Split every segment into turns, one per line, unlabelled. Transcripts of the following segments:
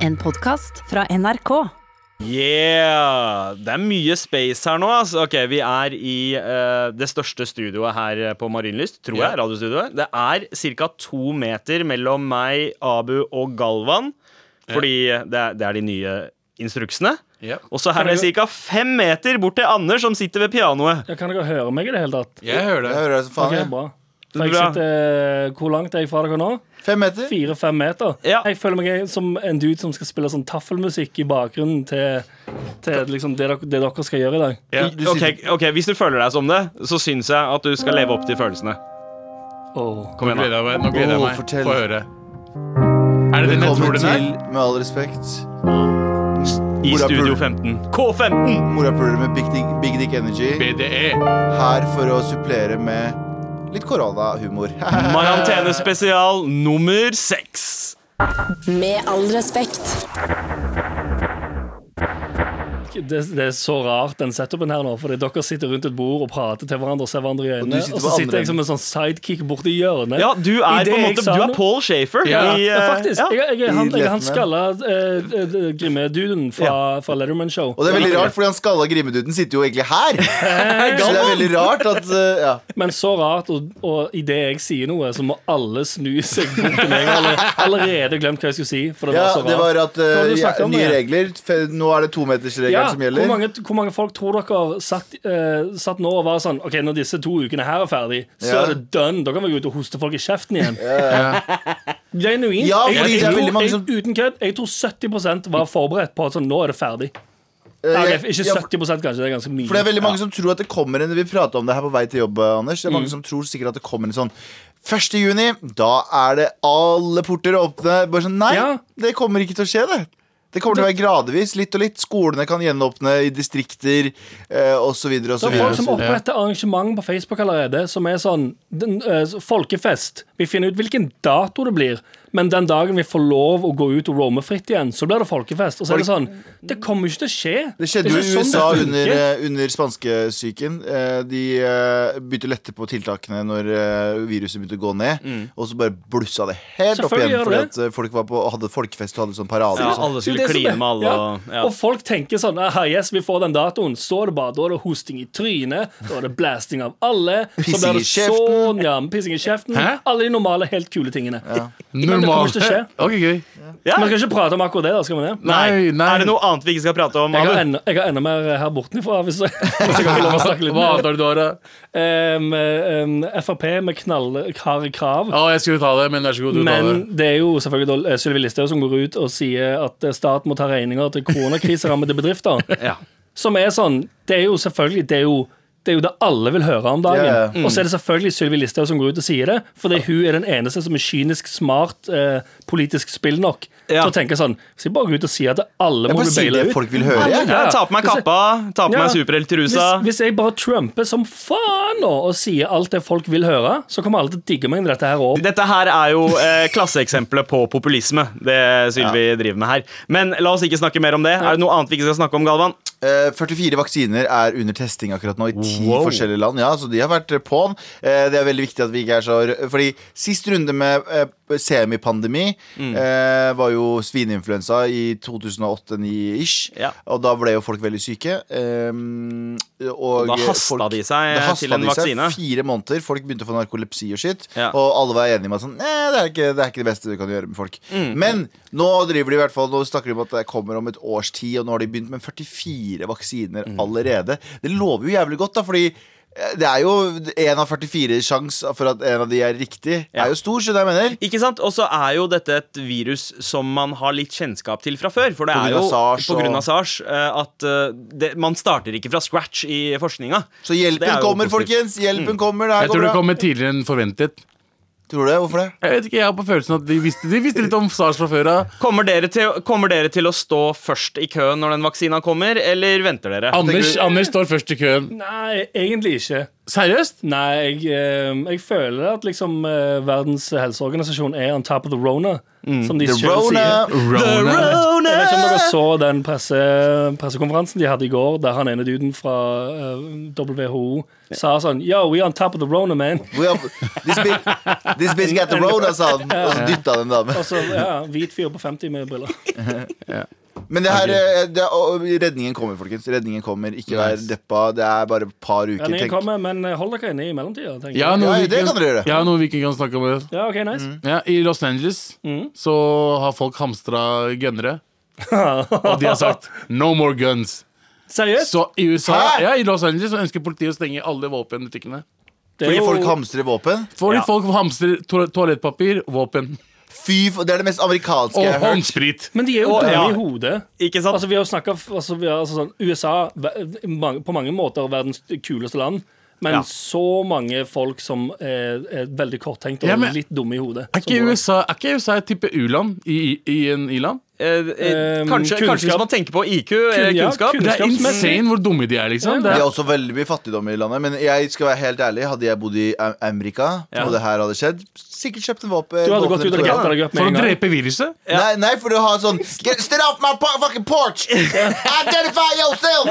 En podkast fra NRK.
Yeah! Det er mye space her nå. Altså. Ok, Vi er i eh, det største studioet her eh, på Marienlyst, tror jeg. radiostudioet Det er ca. to meter mellom meg, Abu og Galvan. Fordi det, er, det er de nye instruksene.
Ja.
Og så er det ca. fem meter bort til Anders, som sitter ved pianoet.
Ja, kan dere høre meg i det hele tatt?
Jeg hører
Jeg
det.
hører deg som
Ok,
faen. jeg.
bra. For jeg
Bra.
sitter, eh, hvor langt er jeg fra dere nå?
Fem meter.
Fire-fem meter.
Ja.
Jeg føler meg som en dude som skal spille sånn taffelmusikk i bakgrunnen til, til liksom det, dere, det dere skal gjøre i dag.
Ja.
Du sitter-
ok, ok, Hvis du føler deg som det, så syns jeg at du skal leve opp til følelsene.
Åh.
Kom
Nå
igjen, da.
gleder jeg meg. Nå gleder jeg
Åh,
meg.
fortell.
Få høre. Er det den jeg tror
Velkommen
den er?
til, med all respekt,
I
Hvor er
Studio
pul-
15. K15!
morapuler med Big Dick, Big Dick Energy
BDE.
her for å supplere med litt koronahumor.
Marantene spesial nummer seks.
Med all respekt.
Det, det er så rart, den setupen her nå. Fordi dere sitter rundt et bord og prater til hverandre og ser hverandre i øynene.
sitter
Og
på
så
andre
sitter jeg som
enden.
en sånn sidekick borti hjørnet.
Ja, du
I
er
det
på en
jeg
måte
sa
Du er
nå-
Paul Shafer.
Ja.
i, eh,
Ja, faktisk.
ja.
Jeg, jeg, er han, jeg er han
Letterman.
skalla eh, eh, eh, Grimme-duden fra, fra Letterman Show.
Og det er veldig rart, fordi han skalla grimeduden sitter jo egentlig her. Så det er veldig rart at eh, ja.
Men så rart, og, og idet jeg sier noe, så må alle snu seg bort til meg. Jeg har alle- allerede glemt hva jeg skulle si, for det
ja,
var så rart.
det var at
Hva var det
eh,
du
ja,
snakket om
nye
igjen?
regler. Fe- Nå er det tometersregelen
Ja,
som
hvor
gjelder.
mange, hvor mange folk tror dere satt, eh, satt nå og var sånn OK, når disse to ukene her er ferdig, så
Ja.
er det done. Da kan vi gå ut og hoste folk i kjeften igjen. Genuint.
Ja,
jeg,
fordi
jeg,
det er
tror-
veldig mange som-
jeg, uten kødd, jeg tror 70 var forberedt på at sånn, nå er det ferdig.
Eh,
Nei,
jeg-
ok, ikke
ja,
70 kanskje, det er ganske mye.
For det er veldig mange som tror at det kommer en Vi prater om det her på vei til jobb, Anders. Det er mange
Mm.
som tror sikkert at det kommer en sånn 1. juni, da er det alle porter åpne. Bare sånn, nei,
Ja.
det kommer ikke til å skje, det. Det kommer til å være gradvis, litt og litt. Skolene kan gjenåpne i distrikter eh, osv.
Det er folk som
osv.
oppretter arrangement på Facebook allerede, som er sånn den, eh, Folkefest. Vi finner ut hvilken dato det blir, men den dagen vi får lov å gå ut og roame fritt igjen, så blir det folkefest. Og så er det sånn Det kommer ikke til å skje.
Det skjedde
er
jo
ikke
i
sånn
USA
det
under,
funker.
eh, under spanskesyken. Eh, De eh, begynte å lette på tiltakene når eh, viruset begynte å gå ned. Og så bare blussa det helt opp
Mm. Selvfølgelig
igjen
gjør
fordi
det.
at eh, folk var på, hadde folkefest og hadde sånn parade.
Ja,
og sånn.
alle
Det er
skulle
det som
kline
er-
med alle.
ja.
og- Ja.
Og folk tenker sånn Aha, yes, vi får den datoen. Så er det bare, Da er det hosting i trynet, da er det blasting av alle. Så
Pissing
blir det
i kjeften.
sånn, ja, pissing i kjeften.
Hæ?
Alle de normale, helt kule tingene. Men det kommer
Normal.
ikke til å skje.
Ok, gøy.
Ja.
Vi skal ikke prate om akkurat det. da, skal vi det?
Nei, nei.
Er det noe annet vi ikke skal prate om?
Jeg
Abu?
har, enda, jeg har enda mer her bortenfra. Hvis jeg, hvis jeg kan få lov å snakke
Hva
litt mer.
antar du du har, da?
Ehm, ehm, Frp med knallharde krav.
Å, jeg skulle ta det, men vær så god, du tar det.
Men det er jo selvfølgelig da, eh, Sylvi Listhaug som går ut og sier at eh, staten må ta regninger til koronakriserammede bedrifter.
Ja.
Som er sånn Det er jo selvfølgelig Det er jo det, er jo det alle vil høre om dagen.
Ja, Mm. ja.
Og så er det selvfølgelig Sylvi Listhaug som går ut og sier det, fordi hun er den eneste som er kynisk smart eh, politisk spill nok
Ja.
til å tenke sånn Hvis jeg bare går ut og sier at alle
Jeg
må
bare
du
sier
baile
det
ut
folk vil høre.
Ja,
Jeg.
men-
Jeg tar på meg kappa, tar på meg superheltrusa.
Hvis, hvis jeg bare trumper som faen nå og sier alt det folk vil høre, så kommer alle til å digge meg inn i dette her òg.
Dette her er jo eh, klasseeksempelet på populisme, det Sylvi driver med her. Men la oss ikke snakke mer om det. Er det noe annet vi ikke skal snakke om, Galvan?
Eh, 44 vaksiner er under testing akkurat nå i ti
Wow.
forskjellige land. Ja, så de har vært på'n. Eh, Det er veldig viktig at vi ikke er så rø- Fordi sist runde med eh, semipandemi
Mm.
eh, var jo svineinfluensa i 2008-2009-ish.
Ja.
Og da ble jo folk veldig syke. Um, og
Da hasta
folk-
de seg
da hasta
til en
de seg
vaksine.
Fire måneder, folk begynte å få narkolepsi og shit.
Ja.
Og alle var enige om at sånn, Nei, det, er ikke, det er ikke det beste du kan gjøre med folk.
Mm.
Men nå driver de i hvert fall Nå snakker de om at det kommer om et års tid, og nå har de begynt med 44 vaksiner
Mm.
allerede. Det lover jo jævlig godt, da, fordi eh, det er jo én av 44 sjanse for at en av de er riktig. Det
Ja.
er jo stor, skjønner jeg mener.
Ikke sant? Og så er jo dette et virus som man har litt kjennskap til fra før. For det
På
er
grunn av
jo
SARS
på
og-
grunn av SARS eh, at eh, det, man starter ikke fra scratch i forskninga.
Så
Det er
hjelpen
jo
kommer,
positivt. Mm.
folkens. Hjelpen kommer. Det her
Jeg tror
går
det
bra.
kommer tidligere enn forventet.
Tror du det? Hvorfor det?
Jeg vet ikke, jeg har på følelsen at de visste, de visste litt om SARS fra før av.
Kommer, dere til- kommer dere til å stå først i køen når den vaksina kommer, eller venter dere?
Anders, Anders står først i køen.
Nei, egentlig ikke.
Seriøst?
Nei, jeg, eh, jeg føler at liksom eh, Verdens helseorganisasjon er on top of the rona, som de
Mm. The
selv
Rona.
sier. Jeg vet ikke om dere så den presse, pressekonferansen de hadde i går, der han ene duden fra eh, WHO sa sånn Yo, we on top of the rona, man.
We are, this, bitch, this bitch got the road, sa han. Og så dytta han en dame.
Og så, ja, Hvit fyr på 50 med briller.
Men det her, eh, det, er- og redningen kommer, folkens. Redningen kommer. Ikke vær deppa. Det er bare et par uker.
Regningen
Tenk.
kommer, men hold dere inne i mellomtida. tenker
Ja,
jeg.
noe
Ja, Mm.
vi
det
ikke-
kan dere gjøre.
Ja, noe vi ikke kan snakke om.
Ja, ok, nice.
Ja, I Los Angeles
Mm.
så har folk hamstra gønnere. Og de har sagt 'no more guns'.
Seriøst?
Så i USA
Hæ?
ja, i Los Angeles så ønsker politiet å stenge alle våpenbutikkene.
Det er
Fordi
jo-
folk hamstrer våpen?
Fordi
Ja.
folk hamstrer to toalettpapir, våpen
Fy, f- Det er det mest amerikanske
og
jeg har hørt.
håndsprit.
Men de er jo
Å,
dumme
ja.
i hodet.
Ikke sant?
Altså, vi har snakka altså, vi har- altså, sånn, USA ver- mange, på mange måter verdens kuleste land. Men
Ja.
så mange folk som er, er veldig korttenkte og
Ja, men-
litt dumme i hodet.
Er
Så
ikke
bra.
USA, er ikke USA et type u-land i, i, i en i-land?
Eh, eh,
Ehm,
kanskje, kanskje
kunnskap.
hvis man tenker på IQ eller
ja,
kunnskap.
kun-
Det er
Kunnskapsmessig.
insane hvor dumme de er, liksom. Det
Det
er,
er også veldig mye fattigdom i landet, men jeg skal være helt ærlig hadde jeg bodd i Am- Amerika,
Ja.
og det her hadde skjedd, sikkert kjøpt en våpen.
Du hadde gått ut og
våpen-
grepet deg opp
for
med
å
en gang.
drepe viruset.
Nei, nei, for du har sånn Get, Stay off my po- fucking porch! Identify yourself!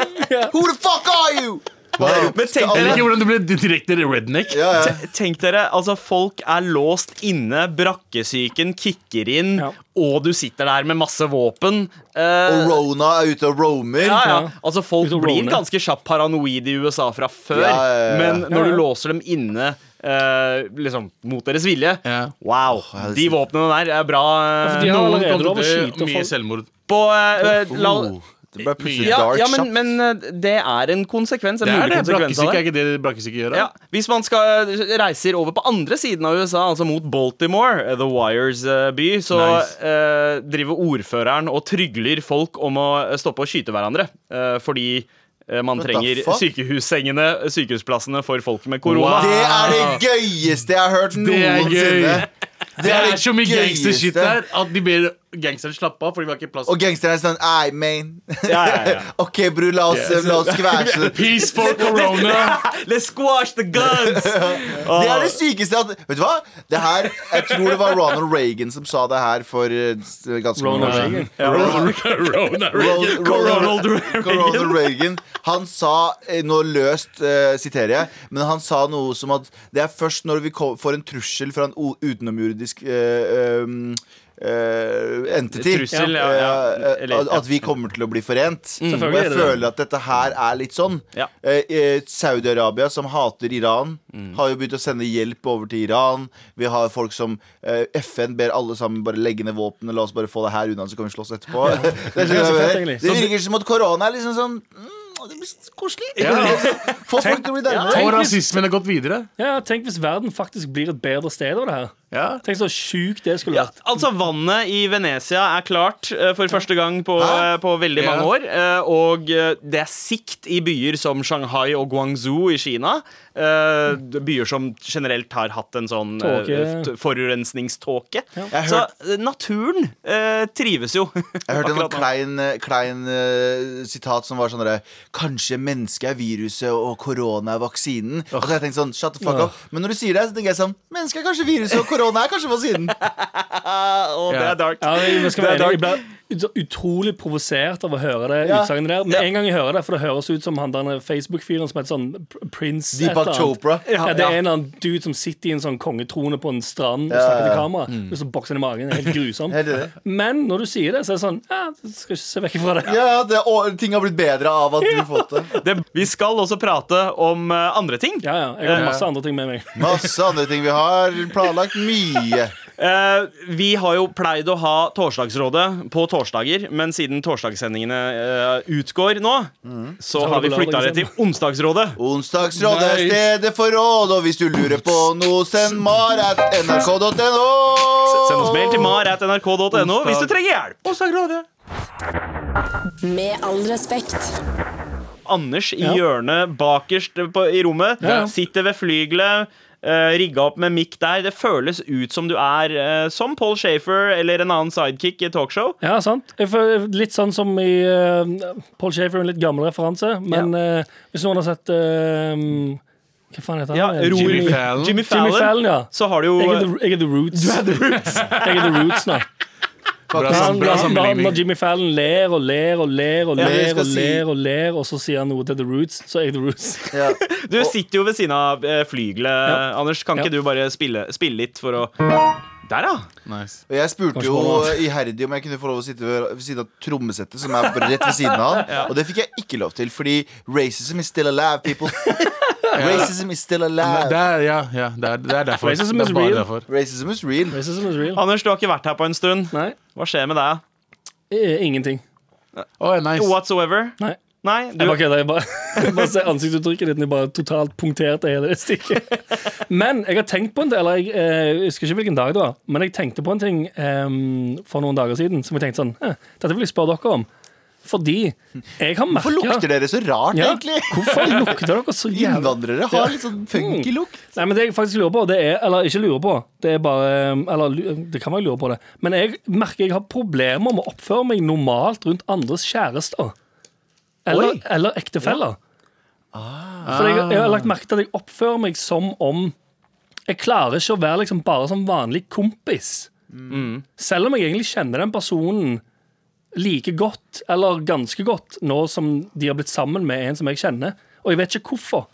Who the fuck are you? Bare
Men tenk
Jeg
dere,
liker hvordan du ble direkte redneck.
Ja, ja.
te- tenk dere, altså folk er låst inne, brakkesyken kicker inn,
Ja.
og du sitter der med masse våpen. Eh,
Og Rona er ute og roamer.
ja, ja.
Ja.
Altså Folk
Ut og
blir
rolle.
ganske kjapt paranoide i USA fra før,
Ja, ja, ja.
men
Ja,
når
ja.
du låser dem inne eh, liksom mot deres vilje
Ja.
Wow!
jeg
De våpnene der er bra. eh,
for de har
Noen
allerede
kommer
lov å
til
skyte
mye
folk.
selvmord.
På eh, eh, la,
Oh, det ble plutselig
ja,
dark
ja,
kjapt.
men, men eh, det er en konsekvens. En
Det er
mulig
det.
konsekvens av
Brakkesyke
det.
er ikke det brakkesyke gjør. da.
Ja, hvis man skal eh, reiser over på andre siden av USA, altså mot Baltimore, eh, The Wires eh, by, så
Nice.
eh, driver ordføreren og trygler folk om å eh, stoppe å skyte hverandre. eh, fordi eh, man
What the
trenger
fuck?
sykehussengene, sykehusplassene, for folk med korona.
Wow.
Det er det gøyeste jeg har hørt
Det er gøy.
noensinne.
Det er så mye gangstershit
gøyeste.
der at de ber gangsteren slappe av fordi vi har ikke plass.
Og gangsterne er sånn Ei, man.
Ja, ja, ja.
OK, bror, la oss,
Yes.
la oss skvæsje.
Peace for corona!
Let's squash the guns!
Det er det sykeste at Vet du hva? Det her, Jeg tror det var Ronald Reagan som sa det her for eh, s- ganske mange
Ronald
år siden.
Reagan.
Corona Reagan.
Ronald
Reagan.
Ronald Reagan. Han sa, eh, nå løst eh, siterer jeg, men han sa noe som at det er først når vi ko- får en trussel fra en o- utenomjordisk eh, um, eh, entity
Trussel, ja, ja.
eh, eh,
Eller-
at- At vi kommer til å bli forent. Og
Selvfølgelig er
jeg
det det.
føler at dette her er litt sånn.
Ja.
Eh, eh, Saudi-Arabia, som hater Iran, har jo begynt å sende hjelp over til Iran. Vi har folk som eh, FN ber alle sammen bare legge ned våpenet, la oss bare få det her unna, så kan vi slåss etterpå. det, er
Det er så fett,
sånn-
egentlig.
det virker som at korona er liksom sånn mm, Det blir koselig. Få folk til å bli nærmere.
Og rasismen har gått videre.
Ja, tenk hvis verden faktisk blir et bedre sted av det her.
Ja.
Tenk så sjukt det skulle
Ja,
vært.
altså Vannet i Venezia er klart eh, for første gang på,
Hæ?
eh, på veldig
Ja.
mange år. eh, Og eh, det er sikt i byer som Shanghai og Guangzhou i Kina. eh, Byer som generelt har hatt en sånn eh,
Tåke.
t- forurensningståke.
Jeg
Så eh, naturen eh, trives jo.
Jeg hørte
Akkurat
en sånn
nå.
klein, eh, klein eh, sitat som var sånn derre Kanskje mennesket er viruset, og korona er vaksinen. Og så har jeg tenkt sånn, shut the fuck up Men når du sier det, så tenker jeg sånn Mennesket er kanskje viruset, og korona er kanskje vaksinen.
Ah, og det
Ja.
er dark.
Ja, jeg, jeg, skal være
Det er
enig, jeg ble ut- utrolig provosert av å høre det
Ja.
utsagnet der. Med en gang jeg hører det, for det høres ut som han der Facebook-fyren som heter sånn Pr- Prince et
Deepak
eller annet.
Chopra.
Ja, det
ja.
er en eller annen dude som sitter i en sånn kongetrone på en strand og snakker til kamera. Og så bokser han i magen. Det er Helt grusom.
Helt enig.
Men når du sier det, så er det sånn Ja, jeg skal ikke se vekk fra det.
Ja, ja, det, og, ting har blitt bedre av at du fått det.
Det, vi skal også prate om eh, andre ting.
Ja, ja. Jeg har masse andre ting med meg.
Masse andre ting. Vi har planlagt mye.
Eh, vi har jo pleid å ha Torsdagsrådet på torsdager, men siden torsdagssendingene eh, utgår nå, så har vi flytta det til Onsdagsrådet.
Onsdagsrådet er
Nice.
stedet for råd, og hvis du lurer på noe, send mar at nrk.no.
Send oss mail til mar.nrk.no hvis du trenger hjelp.
Med all respekt.
Anders i
Ja.
hjørnet bakerst på, i rommet.
Ja.
Sitter ved flygelet. Uh, rigga opp med mikk der. Det føles ut som du er eh, som Paul Shafer eller en annen sidekick i talkshow.
Ja, sant. Jeg føler Litt sånn som i eh, Paul Shafer, en litt gammel referanse. Men eh, hvis noen har sett eh, Hva faen heter han?
Ja,
Eh,
Rory-
Jimmy-
Fallon.
Jimmy
Jimmy
Fallon.
Fallon, ja.
Så har du jo
Jeg er the, jeg er the Roots.
The Roots.
Jeg er the Roots nå.
Bra,
Når,
sam- bra
når, når, når
sammenligning.
Jimmy Fallon ler og ler og ler og
sånn Ja, men jeg
ler,
skal
og,
si-
ler og ler, og så sier han noe til The Roots, så er jeg The Roots.
Ja.
Du sitter jo ved siden av eh, flygelet, Anders. Kan ikke
Ja.
du bare spille, spille litt for å Der, ja!
Nice.
Og jeg spurte
Kanskje
jo
man må-
iherdig om jeg kunne få lov å sitte ved ved siden av trommesettet, som er rett ved siden av han. Og det fikk jeg ikke lov til, fordi racism is still alive, people. Racism is still
Det
alive.
er, ja, ja, det er, det er derfor.
Racism
det
is
er bare
real.
derfor.
Racism is real.
Racism is real.
Anders, du har ikke vært her på en stund.
Nei,
Hva skjer med deg?
eh, ingenting.
Å, ja, nice.
Whatsoever?
Nei.
Nei, du,
Jeg bare kødder. Jeg bare, jeg bare ser ansiktsuttrykket ditt, og jeg bare totalt punkterte hele det stikket. Men jeg har tenkt på en del, eller jeg, eh, husker ikke hvilken dag det var, men jeg tenkte på en ting em, for noen dager siden som jeg tenkte sånn eh, Dette vil jeg spørre dere om. Fordi jeg har merka
Hvorfor lukter dere så rart,
Ja.
egentlig?
Hvorfor Mm. lukter dere så jævla
Innvandrere har litt sånn funky look.
Nei, men det jeg faktisk lurer på, det er Eller ikke lurer på, det er bare Eller lu- det kan være jeg lurer på det, men jeg merker jeg har problemer med å oppføre meg normalt rundt andres kjærester. Eller,
Oi.
eller ektefeller. For jeg, jeg har lagt merke til at jeg oppfører meg som om Jeg klarer ikke å være liksom bare som vanlig kompis. Selv om jeg egentlig kjenner den personen like godt, eller ganske godt, nå som de har blitt sammen med en som jeg kjenner. Og jeg vet ikke hvorfor.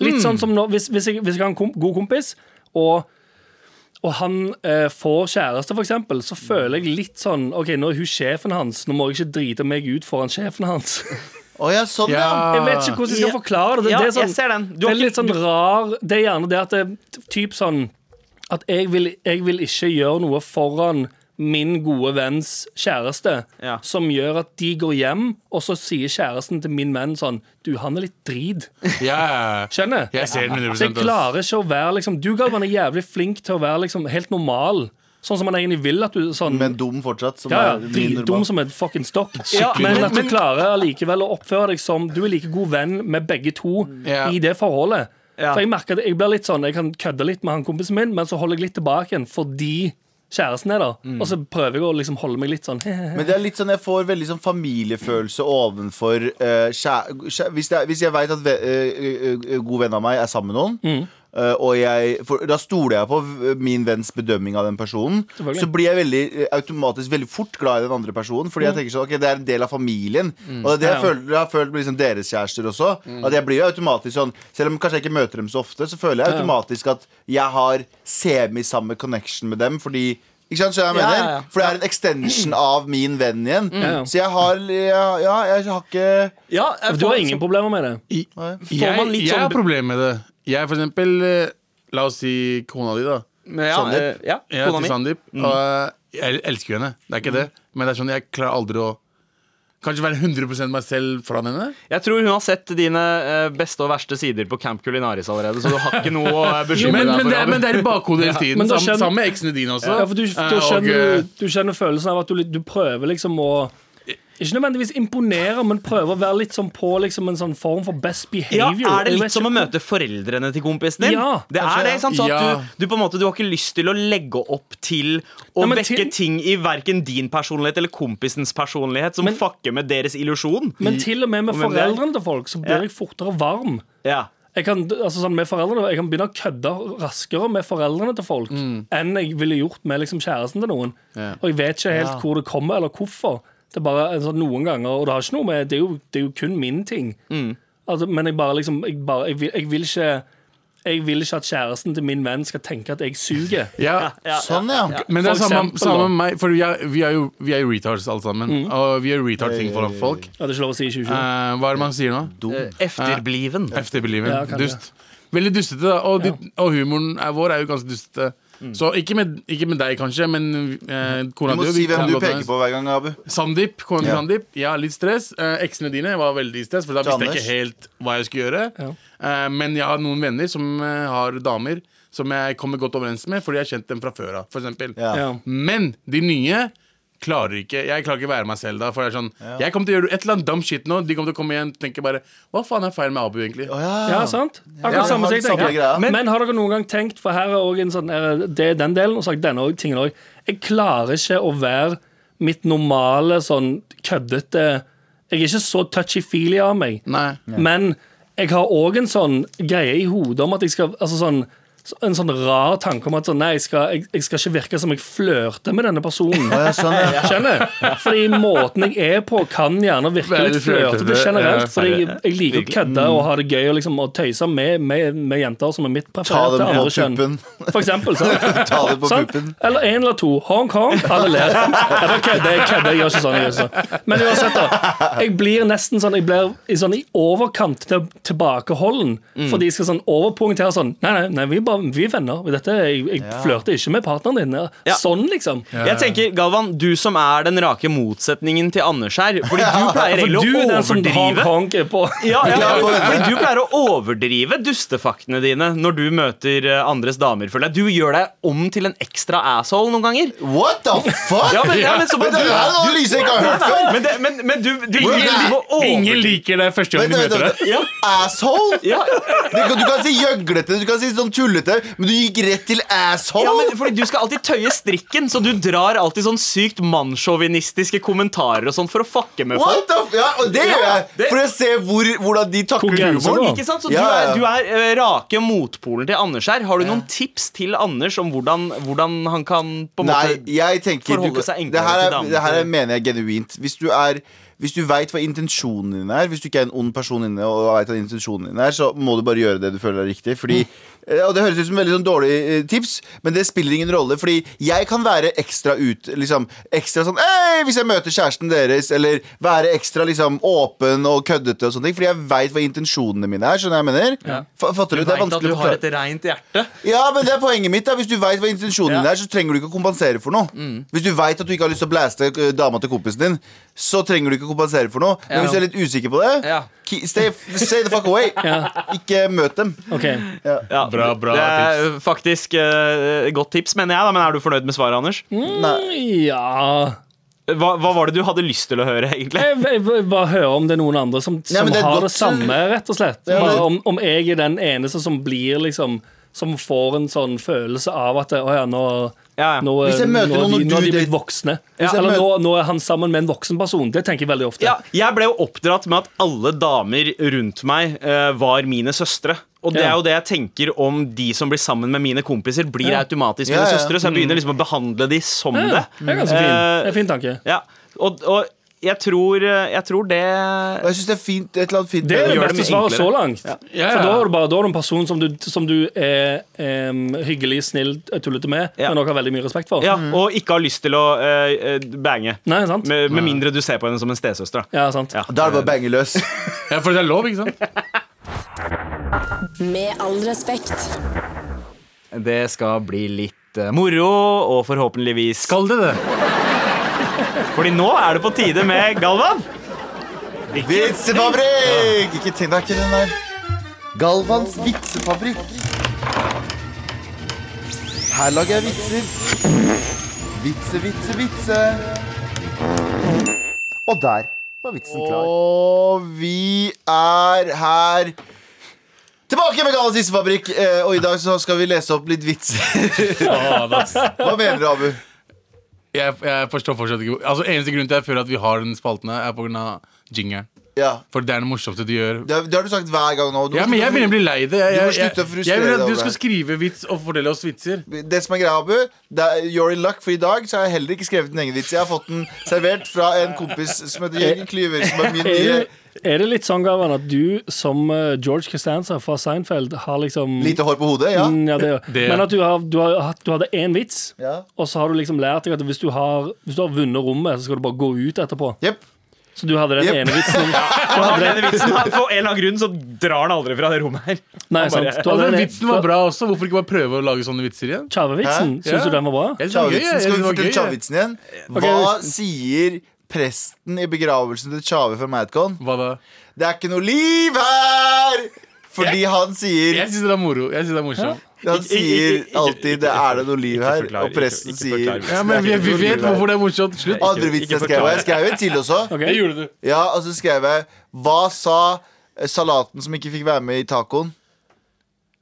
Litt
Mm.
sånn som nå, hvis, hvis, jeg, hvis jeg har en kom, god kompis, og, og han eh, får kjæreste, for eksempel, så føler jeg litt sånn OK, nå er hun sjefen hans, nå må jeg ikke drite meg ut foran sjefen hans.
Å ja, sånn, ja.
Jeg vet ikke hvordan jeg skal
Ja.
forklare det.
Ah. Ja,
det er sånn,
jeg ser den. Du
det
har
er litt sånn rar Det er gjerne det at det er typ sånn At jeg vil, jeg vil ikke gjøre noe foran min gode venns kjæreste
Ja.
som gjør at de går hjem, og så sier kjæresten til min venn sånn Du, han er litt drit.
Ja, ja, ja.
Skjønner?
Jeg ser den 100
Så jeg klarer ikke å være liksom Du, Galvan, er jævlig flink til å være liksom helt normal. Sånn som han egentlig vil at du sånn,
Men dum fortsatt. Som
ja, ja,
er min
Dritdum
normal.
som en fucking stokk.
Ja,
men,
men-
at du klarer likevel å oppføre deg som du er like god venn med begge to
Ja.
i det forholdet.
Ja.
For Jeg merker at jeg blir litt sånn Jeg kan kødde litt med han kompisen min, men så holder jeg litt tilbake igjen fordi kjæresten er der. Og så prøver jeg å liksom holde meg litt sånn
Men det er litt sånn jeg får veldig sånn familiefølelse ovenfor eh, kjæ- kjæ- hvis, det er, hvis jeg veit at ve eh, eh, eh, god venn av meg er sammen med noen,
Mm.
eh, og jeg, for, da stoler jeg på v- min venns bedømming av den personen,
Selvfølgelig.
så blir jeg veldig, eh, automatisk veldig fort glad i den andre personen. Fordi
Mm.
jeg tenker sånn, ok, det er en del av familien. Og det er det jeg
Ja, ja.
føler, jeg har følt med liksom deres kjærester også.
Mm.
At jeg blir jo automatisk sånn Selv om kanskje jeg ikke møter dem så ofte, så føler jeg automatisk at jeg har semi-samme connection med dem. Fordi ikke sant, skjønner du hva jeg
Ja,
mener?
ja, ja.
For det er en extension av min venn igjen.
Mm. Ja.
Så jeg har Ja, ja jeg har ikke
ja, jeg
Du
får-
har ingen problemer med det?
Jeg,
man litt
jeg
sånn-
har problemer med det. Jeg, for eksempel eh, La oss si kona di, da.
ja,
Sandeep.
eh, ja,
Jeg
kona
heter
mi.
Sandeep, og eh, jeg elsker jo henne. Det er ikke det. Men det er sånn jeg klarer aldri å Kanskje være 100 meg selv foran henne.
Jeg tror hun har sett dine eh, beste og verste sider på Camp Culinaris allerede, så du har ikke noe å eh,
Jo,
bekymre deg
men, men,
for.
det er, men
Abu.
det er i bakhodet hele tiden.
Men da
Sam-
skjønner-
Sammen med eksene dine også.
Ja, for du,
Eh,
da skjønner
og,
du, du kjenner følelsen av at du, litt- du prøver liksom å ikke nødvendigvis imponere, men prøve å være litt sånn på liksom en sånn form for best
ja,
behavior.
er det
Jeg vet
litt som å
ikke hvor-
møte foreldrene til kompisen din?
Ja,
det
kanskje,
er det,
ja.
ikke sant? Så at
Ja.
du, du på en måte, du har ikke lyst til å legge opp til å
Nei, men
vekke
til-
ting i verken din personlighet eller kompisens personlighet som
Men-
fucker med deres illusjon.
Men til og med med
Og hvem det er.
foreldrene til folk så blir jeg fortere varm.
Ja.
Jeg kan, altså sånn, med foreldrene, jeg kan begynne å kødde raskere med foreldrene til folk enn jeg ville gjort med liksom, kjæresten til noen.
Ja.
Og jeg vet ikke helt hvor det kommer, eller hvorfor. Det er bare altså, noen ganger, og det har ikke noe med Det er jo, det er jo kun min ting. Altså, men jeg bare liksom jeg, bare, jeg, vil, jeg vil ikke jeg vil ikke at kjæresten til min venn skal tenke at jeg suger.
ja,
Sånn, ja.
Men det er
For
samme,
eksempel,
samme
da. Mm.
med meg, for vi er, vi er jo vi er jo retards alle sammen. Og vi gjør retard ting foran folk.
Ja, det er ikke lov å si i 2020.
Eh, hva er det man sier nå?
Eh, Efterbliven.
Efterbeliven.
Ja, kanskje.
Dust. Veldig dustete, da. Og, de, og humoren er vår er jo ganske dustete.
Mm.
Så ikke med, ikke med deg, kanskje, men eh,
Du
kona
må
di.
si
vi kan
hvem du
godt
peker
være-
på hver gang, Abu.
Sandeep. Kona til
Ja.
Sandeep. Ja, litt stress. Eh, eksene dine var veldig stress, for da
Til
visste jeg ikke helt hva jeg skulle gjøre.
Ja.
Eh, men jeg har noen venner som eh, har damer som jeg kommer godt overens med, fordi jeg har kjent dem fra før av, for eksempel.
Ja.
Ja.
Men de nye klarer ikke Jeg klarer ikke å være meg selv da. For det er sånn, Jeg kommer til å gjøre et eller annet dumb shit nå. De kommer til å komme igjen og tenke bare Hva faen er feil med Abu, egentlig?
Å, ja.
Ja, sant? Akkurat
Ja,
samme som
han
jeg
samme
tenker.
greia.
Men, har dere noen gang tenkt For her er også en sånn er det- Det er den delen, og så har jeg denne også, tingen også. Jeg klarer ikke å være mitt normale sånn køddete Jeg er ikke så touchy-feely av meg,
Nei.
men jeg har òg en sånn greie i hodet om at jeg skal Altså sånn så- en sånn rar tanke om at sånn, nei, jeg skal, jeg, jeg skal ikke virke som jeg flørter med denne personen.
Ja, skjønner.
Skjønner? Fordi måten jeg er på, kan gjerne virke
Være
litt flørtete
flørtete,
generelt.
ja.
Fordi jeg, jeg liker å kødde
Mm.
og ha det gøy og liksom og tøyse med, med, med jenter som er mitt
Ta
prefererte
dem på
andre kjønn.
puppen.
For eksempel. Sant?
Ta det på
Sant?
puppen.
Eller én eller to. Hongkong, alle ler. Jeg bare kødder, jeg kødder. Jeg gjør ikke sånn. Jeg gjør ikke sånn. Men uansett, da. Jeg blir nesten sånn Jeg blir i, sånn, i overkant til, tilbakeholden.
Mm.
Fordi jeg skal sånn overpoengtere sånn Nei, nei, nei vi, er bare, vi er venner. Dette, jeg jeg flørter ikke med partneren din.
Ja.
Sånn, liksom.
Jeg tenker, Galvan, du som er den rake motsetningen til Anders her. Fordi du pleier
For
egentlig
du er
å
den som har
overdrive.
konk på.
Ja, ja, ja, fordi du pleier å overdrive dustefaktene dine når du møter eh, andres damer. føler jeg Du gjør deg om til en ekstra asshole noen ganger.
What the fuck?!
Ja, men, ja, men, så,
Men det her er noe lyset ikke har hørt før!
men, det, men, men du, du
Hvordan-
driver med å
Ingen liker deg første gang
Vent,
de
vent,
møter
vent.
deg.
Ja.
Asshole?
Ja.
Du kan, du kan si gjøglete, du kan si sånn tullete, men du gikk rett til asshole?
Ja, men fordi Du skal alltid tøye strikken, så du drar alltid sånn sykt mannssjåvinistiske kommentarer og sånn for å fucke med folk.
What the f... Ja, og det gjør jeg!
det-
For å se hvor, hvordan de
Hvor
takler
grenser
humoren.
går.
Ikke sant? Så
Ja, ja.
Du er, du er eh, rake motpolen til Anders her. Har du noen tips til Anders om hvordan, hvordan han kan på en
Nei,
måte
jeg tenker
forholde
du,
seg enklere
Det her,
til
er,
damer.
det her er, mener jeg genuint. Hvis du er hvis du veit hva intensjonen din er, hvis du ikke er en ond person inne og vet hva intensjonen din er, så må du bare gjøre det du føler er riktig. Fordi, eh,
Mm.
og Det høres ut som veldig sånn dårlig eh, tips, men det spiller ingen rolle. Fordi jeg kan være ekstra ut liksom, Ekstra sånn Hei, hvis jeg møter kjæresten deres, eller være ekstra liksom, åpen og køddete og sånne ting. Fordi jeg veit hva intensjonene mine er. Skjønner du hva jeg mener? Fa- Fatter
Du
du? Det er
vet at
vanskelig
du
å
har
forklare.
et reint hjerte.
Ja, men det er poenget mitt. da Hvis du veit hva intensjonen
Ja.
din
Mm.
er, så trenger du ikke å kompensere for noe. Hvis du veit at du ikke har lyst til å blaste eh, dama til kompisen din, så trenger du ikke å kompensere for noe. Men
Ja.
hvis du er litt usikker på det,
Ja.
ki- stay, stay the fuck away. Ikke møt dem.
Ok,
Ja,
Bra, bra
det er faktisk eh, godt tips, mener jeg. da Men er du fornøyd med svaret, Anders?
Mm. Nei.
Ja
Hva, hva var det du hadde lyst til å høre, egentlig?
jeg, jeg, jeg bare hører om det er noen andre som, som
men det er
har
godt-
det samme, rett og slett.
men-
Bare om, om jeg er den eneste som blir liksom Som får en sånn følelse av at Å ja, nå,
Ja, ja.
nå, eh,
Hvis jeg
nå,
møter
er
noen
de,
og
nå er
du
de blitt
date-
voksne.
Ja,
Hvis, eller
men-
nå, nå er han sammen med en voksen person. Det tenker jeg veldig ofte.
Ja, jeg ble jo oppdratt med at alle damer rundt meg eh, var mine søstre. Og det
Ja.
er jo det jeg tenker om de som blir sammen med mine kompiser, blir
Ja. Mm.
automatisk
Ja,
mine
ja.
søstre. Så jeg begynner liksom å behandle de som
Ja,
det.
det er
Mm.
ganske fin.
Eh,
Det er en fin tanke.
Ja, og, og jeg tror, eh, jeg tror det
Og jeg syns det er fint, et eller annet fint
Det er det
gjør det
beste
mye
svaret så
enklere.
langt.
Ja,
For
ja.
da er du bare da er du en person som du, som du er em, hyggelig, snill, eh, tullete med,
Ja.
men også har veldig mye respekt for.
ja, Og ikke har lyst til å eh, eh, bange.
Nei, sant?
Med, med mindre du ser på henne som en stesøster. da.
Ja, sant.
Ja.
Da er det bare å bange løs.
Ja, for det er lov, ikke sant?
Med all respekt.
Det skal bli litt eh, moro, og forhåpentligvis
Kall det det.
Fordi nå er det på tide med Galvan.
Vitsefabrikk! Ikke tenk deg ikke den der. Galvans vitsefabrikk. Her lager jeg vitser. Vitse, vitse, vitse.
Og der var vitsen klar.
Og vi er her tilbake med Gallas tissefabrikk. eh, Og i dag så skal vi lese opp litt vitser. Hva mener du, Abu?
Jeg, jeg forstår fortsatt ikke hvor- Altså, Eneste grunn til at jeg føler at vi har den spalten her, er pga. jingeren.
Ja,
For det er det morsomste du gjør.
Det, har- det har du sagt hver gang nå. Du
Ja,
må
men jeg
slutte å-
begynner å bli lei det. Jeg,
Du må
jeg,
slutte å
jeg,
frustrere
jeg vil at
deg
du
over
skal
det.
skrive vits og fortelle oss vitser.
Det som er greia, Abu, det er you're in luck, for i dag så har jeg heller ikke skrevet en egen vits. Jeg har fått den servert fra en kompis som heter Jørgen Klyver. Som er min
Er
nye
det, er det litt sånn, Gavan, at du som eh, George Costanza fra Seinfeld har liksom
Lite hår på hodet, ja.
Mm, ja, det,
Det-
Men at du, har, du, har, hatt- du hadde én vits,
Ja.
og så har du liksom lært deg at hvis du har, hvis du har vunnet rommet, så skal du bare gå ut etterpå.
Jep.
Så du hadde den
Jep.
ene vitsen. Du
Har
hadde
denne
den,
vitsen her. For en eller annen grunn så drar han aldri fra det rommet her.
nei,
bare-
sant. Du
Og
hadde
den
den
vitsen var bra også. Hvorfor ikke bare prøve å lage sånne vitser igjen?
Tjavevitsen.
Hæ?
Ja.
Syns du den var bra?
Jeg synes det var gøy, jeg.
Tjavitsen,
Jeg
skal
synes det
vi
var
fortelle
gøy, jeg.
Tjavitsen igjen? Hva sier presten i begravelsen til Tjave fra Madcon?
Hva da?
Det er ikke noe liv her! Fordi han sier
Jeg syns det er moro. Jeg synes det er morsomt.
Han
Ikke- ikke-
sier
ikke-
alltid 'det er det noe liv
Ikke
her',
forklar,
og presten
ikke- ikke forklar
sier
vitsen.
Ja, men
Det
vi,
er ikke
vi
noe
vet
liv her.
hvorfor det er morsomt. Slutt.
Å,
Andre vitsen jeg skrev, og jeg skrev en til også.
Ok.
Det gjorde du.
Ja, og så skrev jeg Hva sa eh, salaten som ikke fikk være med i tacoen?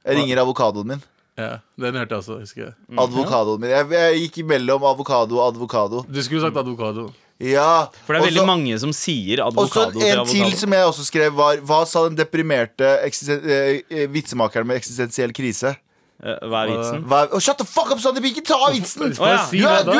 Jeg ringer avokadoen min.
Ja, Den hørte jeg også. husker jeg
Mhm.
Advokadoen min. Jeg, jeg gikk imellom avokado og advokado.
Du skulle sagt advokado.
Ja.
For det er
og så-
veldig mange som sier
Og så
advokado til
en til
avokado.
som jeg også skrev, var Hva sa den deprimerte eksisten- eh, eh, vitsemakeren med eksistensiell krise?
Eh, Hva er vitsen?
Hva, oh, shut the fuck up, Sandeep! Ikke ta vitsen!
Å, ja.
Du er, du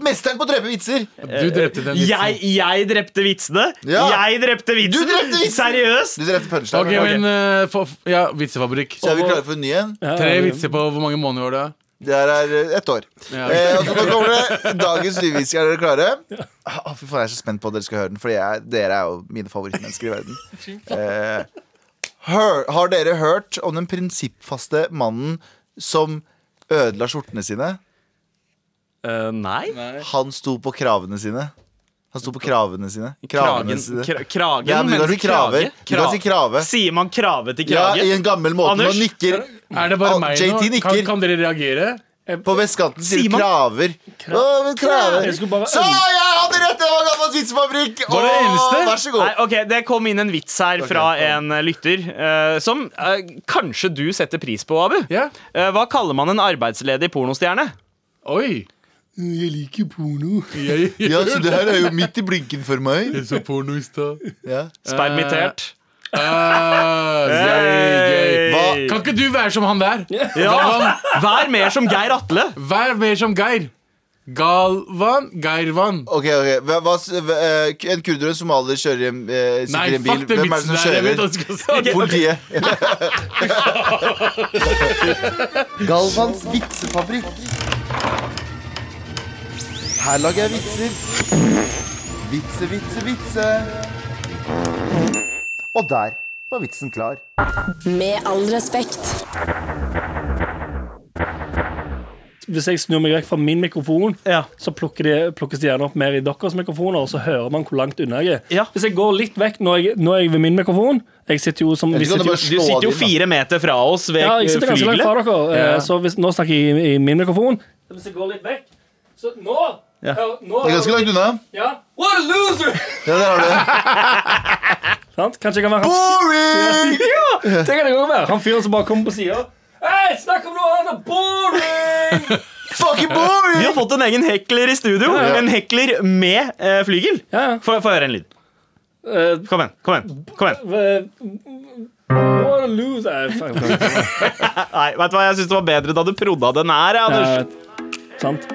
er mesteren på å drepe vitser!
Du drepte den
Jeg, jeg drepte vitsene!
Ja.
Jeg drepte vitsen!
Du drepte vitsen!
Seriøst!
Du drepte punchline.
Ok, men eh, for, Ja, vitsefabrikk.
Så er vi klare for en ny en.
Ja,
Tre
ja, ja.
vitser på hvor mange måneder var det?
Det her er eh, ett år.
Ja.
Eh, og så nå kommer det dagens nyvitser. Er dere klare? Ah, Å, fy faen, Jeg er så spent på at dere skal høre den, for jeg, dere er jo mine favorittmennesker i verden. Eh, hør, har dere hørt om den prinsippfaste mannen som ødela skjortene sine?
Eh, nei?
Han sto på kravene sine. Han sto på kravene sine. Kravene
Kragen,
sine.
kra kragen
Ja, men du kan
mener
si kraver. Du kan si krave.
Sier man krave til
Ja,
krage?
i en gammel måte.
Anders?
Man nikker
Er det bare
Al-
meg
JT
nå? Kan,
Ah, nikker.
kan dere reagere?
på vestkanten. Sier
Sier man-
kraver. Å, men kraver.
Jeg skulle bare-
Så jeg hadde rett! Det var Gammals vitsefabrikk!
Var det
Å,
eneste?
Vær så god.
Nei, ok, Det kom inn en vits her fra en eh, lytter eh, som eh, kanskje du setter pris på, Abu.
Ja.
Eh, hva kaller man en arbeidsledig pornostjerne?
Oi!
Jeg liker porno.
Jeg, jeg,
Ja, så det her er jo midt i blinken for meg.
så porno i stad.
Ja.
Spermittert.
Ah,
Eh,
gøy, gøy.
Hey!
Kan ikke du være som han der?
Ja, Vær mer som Geir Atle.
Vær mer som Geir. Galvan Geirvan.
Ok, ok. Hva, hva, s- hva, eh, en kurder og en somalier kjører hjem, eh,
Nei,
sitter i en bil.
fuck den
Hvem er det
vitsen
som
der. Jeg vet hva du
kjører?
skal si.
Politiet.
Galvans vitsefabrikk.
Her lager jeg vitser. Vitse, vitse, vitse.
Og der var vitsen klar.
Med all respekt.
Hvis jeg snur meg vekk fra min mikrofon,
Ja.
så plukker de, plukkes de gjerne opp mer i deres mikrofoner, og så hører man hvor langt unna jeg er.
Ja.
Hvis jeg går litt vekk når jeg, når jeg er ved min mikrofon Jeg sitter jo som vi
Eller så
sitter jo,
kan du
Du
bare slå
sitter jo
den inn, da.
fire meter fra oss ved
Ja, jeg
eh,
sitter ganske langt
flygelet.
fra dere, eh,
Ja.
så hvis, nå snakker jeg i, i min mikrofon. Hvis jeg går litt vekk, så nå
Ja.
hør- nå
Det er ganske langt unna.
Ja. What a loser!
Ja, der har du det.
Sant? Kanskje jeg kan være han
Boring!
Ja, det kan jeg også være. Han fyren som bare kommer på sida. Hei, snakk om noe annet! Boring!
Fucking
Vi
boring!
har fått en egen hekler i studio. En hekler med eh, flygel.
Ja, ja.
Få få høre en lyd.
Eh,
Kom igjen. kom igjen, kom igjen
eh, What a loser Eh, fuck, fuck.
Nei, vet du hva, Jeg syns det var bedre da du prodda den her.
Ja,
Anders.
sant.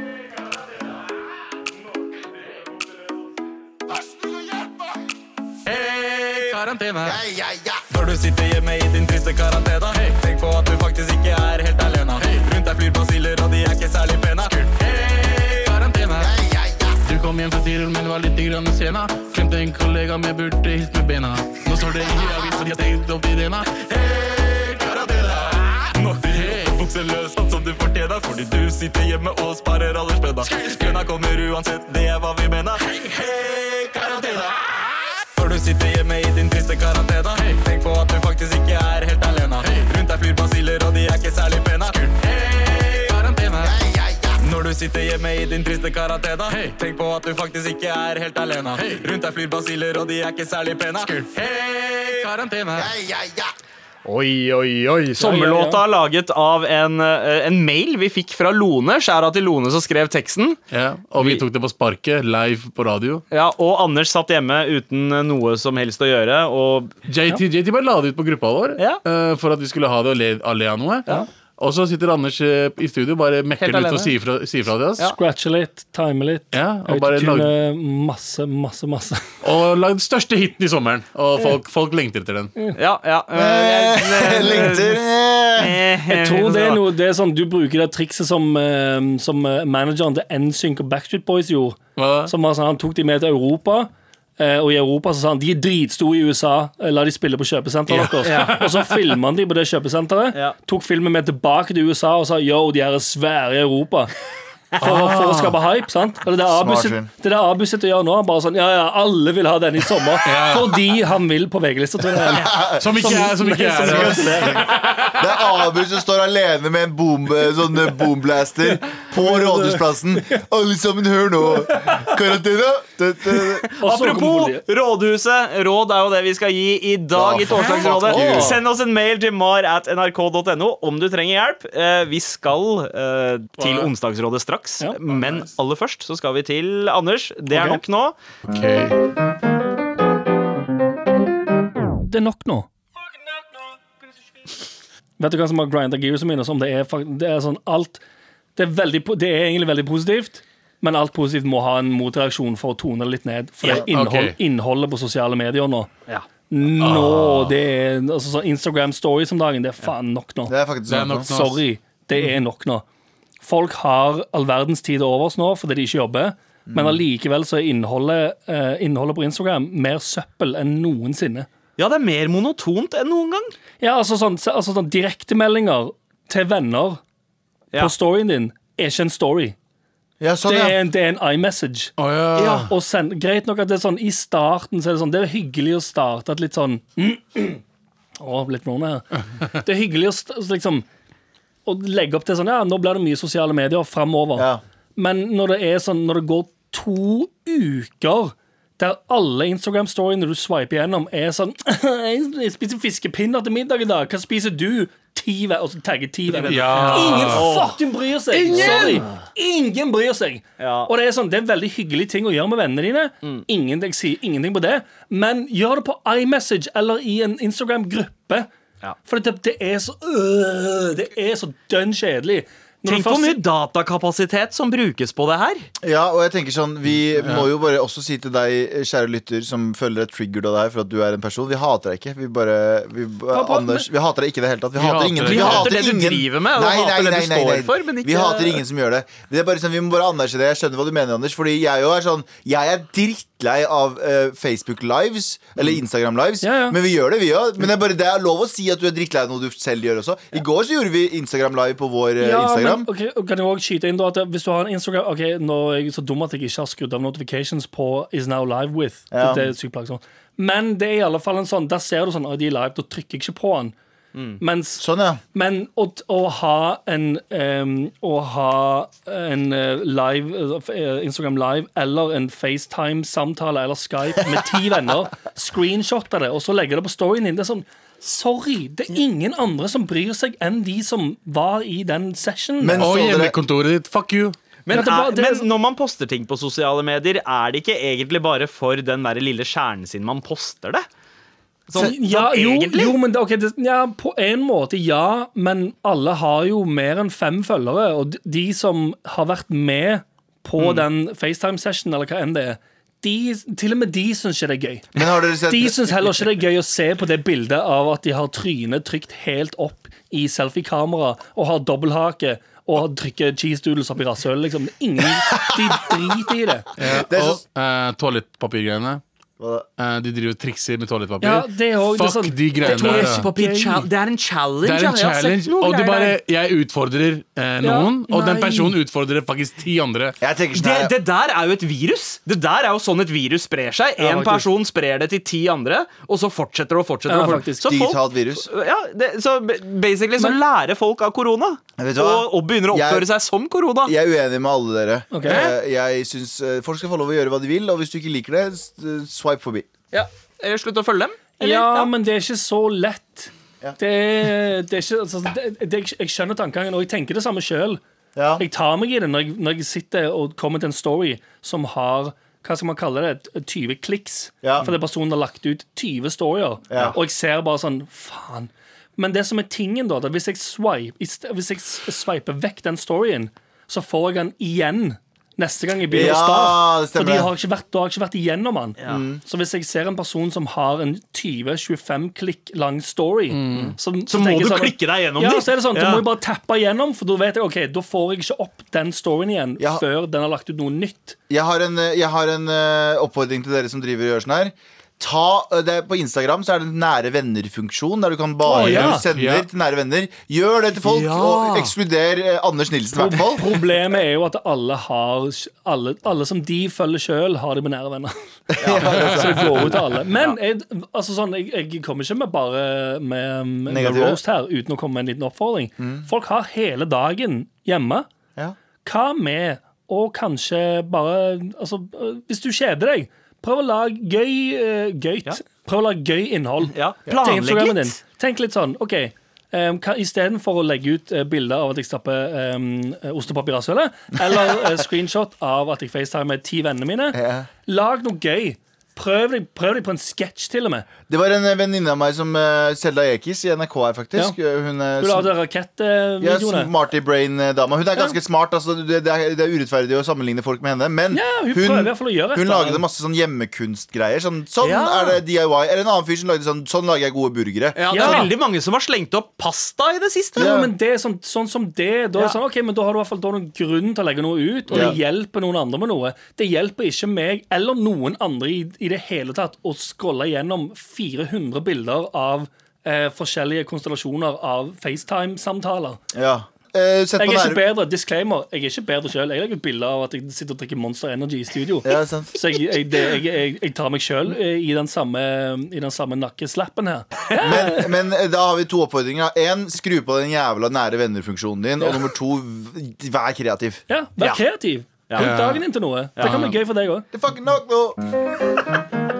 Hey, karantene.
Når du sitter hjemme i din triste karantene hey. Tenk på at du faktisk ikke er helt alene hey. Rundt deg flyr basiller og de er ikke særlig pene
Hey, karantene. Du kom hjem fra Tyrol, men var litt grann sena. Glemte en kollega, men jeg burde hilst med bena. Nå står det i avisen, de har tenkt opp idena.
Hey, karantene Nå er helt bukseløs, sånn som du fortjener Fordi du sitter hjemme og sparer alderspedda Kønna kommer uansett, det er hva vi mener Hey, karantene Når du sitter hjemme i din triste karantene hey. Tenk på at du faktisk ikke er helt alene Rundt deg flyr basiller og de er ikke særlig pene Hey, karantene Når du sitter hjemme i din triste karantene Tenk på at du faktisk ikke er helt alene Rundt deg flyr basiller og de er ikke særlig pene Hey, karantene
Oi, oi, oi. Sommerlåta er laget av en, eh, en mail vi fikk fra Lone. Skjæra til Lone som skrev teksten.
Ja, og vi tok det på sparket, live på radio.
Ja, Og Anders satt hjemme uten eh, noe som helst å gjøre. Og
JT, JT bare la det ut på gruppa vår
Ja.
eh, for at vi skulle ha det og le, alle av noe. Og så sitter Anders eh, i studio bare mekker
Helt
det ut og
alene.
sier fra, sier fra til oss.
Scratche litt, time litt.
Ja, og bare
Autotune eh,
lagde-
masse, masse, masse.
Og lagde den største hiten i sommeren.
Mm.
Og folk, folk lengter etter den.
ja, ja eh,
Eh,
jeg-
Lengter. Eh.
Eh,
Jeg tror det er noe Det er sånn du bruker det trikset som, eh, som eh, manageren til NSYNC og Backstreet Boys gjorde.
Hva?
Som var sånn, Han tok de med til Europa. eh, Og i Europa så sa han de er dritstore i USA, eh, la de spille på kjøpesenteret deres. Og så filma han de på det kjøpesenteret,
Ja.
tok filmen med tilbake til USA og sa yo, de her er svære i Europa. For, å- for å skape hype, sant? Og det er det Abu
Smart
sit-
film.
det er det Abu sitter og gjør nå. Han bare sånn, ja, ja, alle vil ha den i sommer. Fordi han vil på VG-lista, tror jeg.
Som ikke er som ikke er
som-
det.
Det er Abu som står alene med en bombe, sånn eh, boomblaster på Rådhusplassen. Alle sammen, hør nå. Karantene. Det- det- det.
Og så kommer
eh, Apropos
politiet.
Rådhuset. Råd er jo det vi skal gi i dag
Ja,
i Torsdagsrådet.
fuck you.
Send oss en mail til mar at nrk.no om du trenger hjelp. Eh, Vi skal eh, til Onsdagsrådet straks,
Ja.
men aller først så skal vi til Anders. Det er nok
Ok.
nå.
Ok.
Det er nok nå. Vet du hva som har grinda gearsa mine? Som det, er, fak- det er sånn alt det er, veldig, po- det er egentlig veldig positivt, men alt positivt må ha en motreaksjon for å tone det litt ned. For det er
Ja,
innhold,
ok.
innholdet på sosiale medier nå.
Ja.
Nå, det er altså, sånn Instagram stories om dagen, det er faen nok nå.
Det er faktisk
Det er
sant
nok
nå.
nå.
Sorry, det er nok nå. Folk har all verdens tid over oss nå fordi de ikke jobber, men allikevel så er innholdet, eh, innholdet på Instagram mer søppel enn noensinne.
ja, det er mer monotont enn noen gang.
Ja, altså sånn, altså sånn direktemeldinger til venner
Ja.
på storyen din er ikke en story.
Ja, sånn,
Det er
ja. Ah.
en, det er en iMessage.
Å ja.
Og send, greit nok at det er sånn i starten så er det sånn Det er hyggelig å starte et litt sånn Å, litt Rona her. Det er hyggelig å sta- liksom Å legge opp til sånn Ja, nå blir det mye sosiale medier framover.
Ja.
Men når det er sånn Når det går to uker der alle Instagram-storyene du swiper gjennom, er sånn 'Jeg spiser fiskepinner til middag i dag. Hva spiser du?' Ti ve- Og så tagger ti venner.
Ja.
Ingen fucking bryr seg! Sorry. Ingen bryr seg.
Ja.
Og det er, sånn, det er en veldig hyggelig ting å gjøre med vennene dine. Ingenting, sier ingenting på det. Men gjør det på iMessage eller i en Instagram-gruppe.
Ja.
For det, det er så øh, Det er så dønn kjedelig. Når
Tenk
du
hvor
først-
mye datakapasitet som brukes på det her.
ja, og jeg tenker sånn Vi
Mm,
må jo bare også si til deg, kjære lytter, som føler deg triggered av det her for at du er en person. Vi hater deg ikke. Vi bare vi,
Pappa,
Anders, vi hater deg ikke i det hele tatt. Vi, hater
hater
ingen.
deg. Vi
hater det du driver med, og hater det du står for, men ikke-
Vi hater ingen som gjør det. Det er bare sånn, Vi må bare anerkjenne det. Jeg skjønner hva du mener, Anders. Fordi jeg jo er sånn Jeg er drittlei av eh, Facebook Lives, eller
Mm.
Instagram Lives,
Ja, ja.
men vi gjør det, vi òg. Men det er bare det er lov å si at du er drittlei av noe du selv gjør også. I går så gjorde vi Instagram Live på vår eh,
ja,
Instagram.
men, ok, og kan jeg også skyte inn da at Hvis du har en Instagram Ok, Nå er jeg så dum at jeg ikke har skrudd av notifications på Is Now Live With.
Ja.
Det er sykt plagsomt. Men det er i alle fall en sånn der ser du sånn, «Å, de er live, da trykker jeg ikke på den.
Mm.
Mens
Sånn, ja.
Men å, å ha en, em, å ha en eh, live, eh, Instagram Live eller en FaceTime-samtale eller Skype med ti venner, screenshotte det og så legge det på storyen din, det er sånn Sorry, det er ingen andre som bryr seg enn de som var i den sessionen.
Men
Og
så dere
hjemmekontoret ditt. Fuck you.
Men,
Ja, det er sånn- bare-
er,
det er-
men når man poster ting på sosiale medier, er det ikke egentlig bare for den der lille kjernen sin man poster det? Sånn,
ja,
sånn
jo,
egentlig?
jo, men det, ok, det, ja, på en måte ja, men alle har jo mer enn fem følgere, og d- de som har vært med på den FaceTime-sessionen, eller hva enn det er, de, til og med de syns ikke det er gøy.
Men har dere sett
De syns heller ikke det er gøy å se på det bildet av at de har trynet trykt helt opp i selfie-kamera og har dobbelthake og trykker cheese doodles opp i rasshølet. Liksom. Ingen, de driter i det.
Det er sånn- så-
Og eh, toalettpapirgreiene.
Hva da?
Eh, de driver og trikser med toalettpapir.
Ja, det er også- det
Fuck
er sånn-
de greiene der. da.
Toalettpapir chal- Det er en challenge.
Det er en
ja, jeg har sett
challenge,
noen
og du
greier
bare
der.
Jeg utfordrer eh, noen, og den
nei.
personen utfordrer faktisk ti andre.
Jeg tenker sånn
det,
her
det der er jo et virus. Det der er jo sånn et virus sprer seg.
Ja,
En
faktisk.
person sprer det til ti andre, og så fortsetter det og fortsetter.
Ja,
og fort-
faktisk.
så folk-
Digitalt virus.
Ja, det, så basically så lærer folk av korona,
Vet du hva?
og, og begynner å
Jeg-
oppføre seg som korona.
Jeg er uenig med alle dere.
Ok.
Eh, Jeg synes, eh, Folk skal få lov å gjøre hva de vil, og hvis du ikke liker det, s- eh, swipe forbi.
Ja. Eh, Slutt å følge dem. eller?
Ja, men det er ikke så lett.
Ja.
Det, er- det er ikke, altså, det, det, jeg skjønner tankegangen, og jeg tenker det samme sjøl.
Ja.
Jeg tar meg i det når jeg, når jeg sitter og kommer til en story som har hva skal man kalle det, 20 kliks.
Ja.
Fordi personen har sånn lagt ut 20 storyer.
Ja.
Og jeg ser bare sånn Faen. Men det som er tingen, da, at hvis jeg, swipe, i sted- hvis jeg s- swiper vekk den storyen, så får jeg den igjen neste gang jeg begynner
Ja,
å starte.
det stemmer.
Fordi jeg har ikke vært, da har jeg ikke vært igjennom den.
Mm.
Så hvis jeg ser en person som har en 20-25 klikk lang story,
Mm.
så,
Så må
tenker jeg
du
sånn-
klikke deg gjennom
ja,
de.
så er det sånn,
Ja.
Da må jeg bare tappe igjennom, for da vet jeg, ok, da får jeg ikke opp den storyen igjen
Ja.
før den har lagt ut noe nytt.
Jeg har en, eh, jeg har en eh, oppfordring til dere som driver og gjør sånn her. Ta, eh, det, er- på Instagram så er det en nære venner-funksjon, der du kan bare
Å, ja.
sende
Ja.
til nære venner. Gjør det til folk, og ekskluder eh, Anders Nilsen i hvert fall.
Problemet er jo at alle har alle, alle som de følger sjøl, har de med nære venner. så det går ut til alle. Men jeg, altså sånn, jeg, jeg kommer ikke med bare med, med
Negative. Mm.
roast her uten å komme med en liten oppfordring. Folk har hele dagen hjemme.
Ja.
Hva med å kanskje bare altså, øh, Hvis du kjeder deg, prøv å lage gøy øh, gøyt. Prøv å lage gøy innhold.
Ja,
Til
planlegg
Instagrammen
litt.
din. Tenk litt sånn, OK. Um, Istedenfor å legge ut eh, bilder av at jeg stapper um, ostepop i eh, rasshølet, eller eh, screenshot av at jeg facetimer ti vennene mine,
Ja.
lag noe gøy. Prøv deg, prøv deg på en sketsj, til og med.
Det var en eh, venninne av meg som eh, Selda Ekiz i NRK her, faktisk. Eh, Hun er
Du
sm-
la de
ja,
rakettvideoene.
smarty brain-dama. Hun er ganske smart. Altså, det, det, er, det er urettferdig å sammenligne folk med henne. Men
Ja, hun prøver i hvert fall å gjøre et
hun
eller annet.
lagde masse sånn hjemmekunstgreier. Sånn, sånn
Ja.
er det DIY. Eller en annen fyr som lagde sånn Sånn lager jeg gode burgere.
Ja, Det
Ja.
er veldig mange som har slengt opp pasta i det siste.
Jo, men det er sånn, sånn som det. Da, er det sånn, ok, men da har du i hvert fall da har du en grunn til å legge noe ut, og det
Ja.
hjelper noen andre med noe. Det hjelper ikke meg eller noen andre i, i det hele tatt å scrolle gjennom 400 bilder av eh, forskjellige konstellasjoner av FaceTime-samtaler.
Ja. Eh, sett på
Jeg er ikke
nære
bedre, disclaimer, jeg er ikke bedre sjøl. Jeg legger ut bilder av at jeg sitter og drikker Monster Energy i studio.
ja, sant.
Så jeg, jeg, det, jeg, jeg, jeg tar meg sjøl i den samme, i den samme nakkeslappen her.
men, men eh, da har vi to oppfordringer. Én, skru på den jævla nære venner-funksjonen din. Og nummer to, v- vær kreativ.
Ja, Vær kreativ. Bruk dagen din til noe. Det kan bli gøy for deg òg.
Det er fucking nok nå!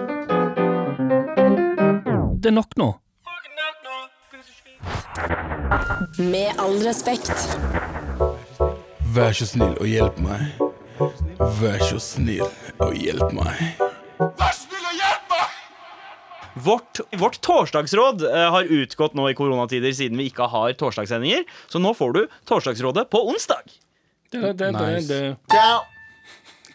Det er nok nå.
Med all respekt.
Vær så snill og hjelp meg. Vær så snill og hjelp meg.
Vårt, vårt torsdagsråd eh, har utgått nå i koronatider siden vi ikke har torsdagssendinger. Så nå får du torsdagsrådet på onsdag.
Det, det, det,
Nice.
det,
Ciao.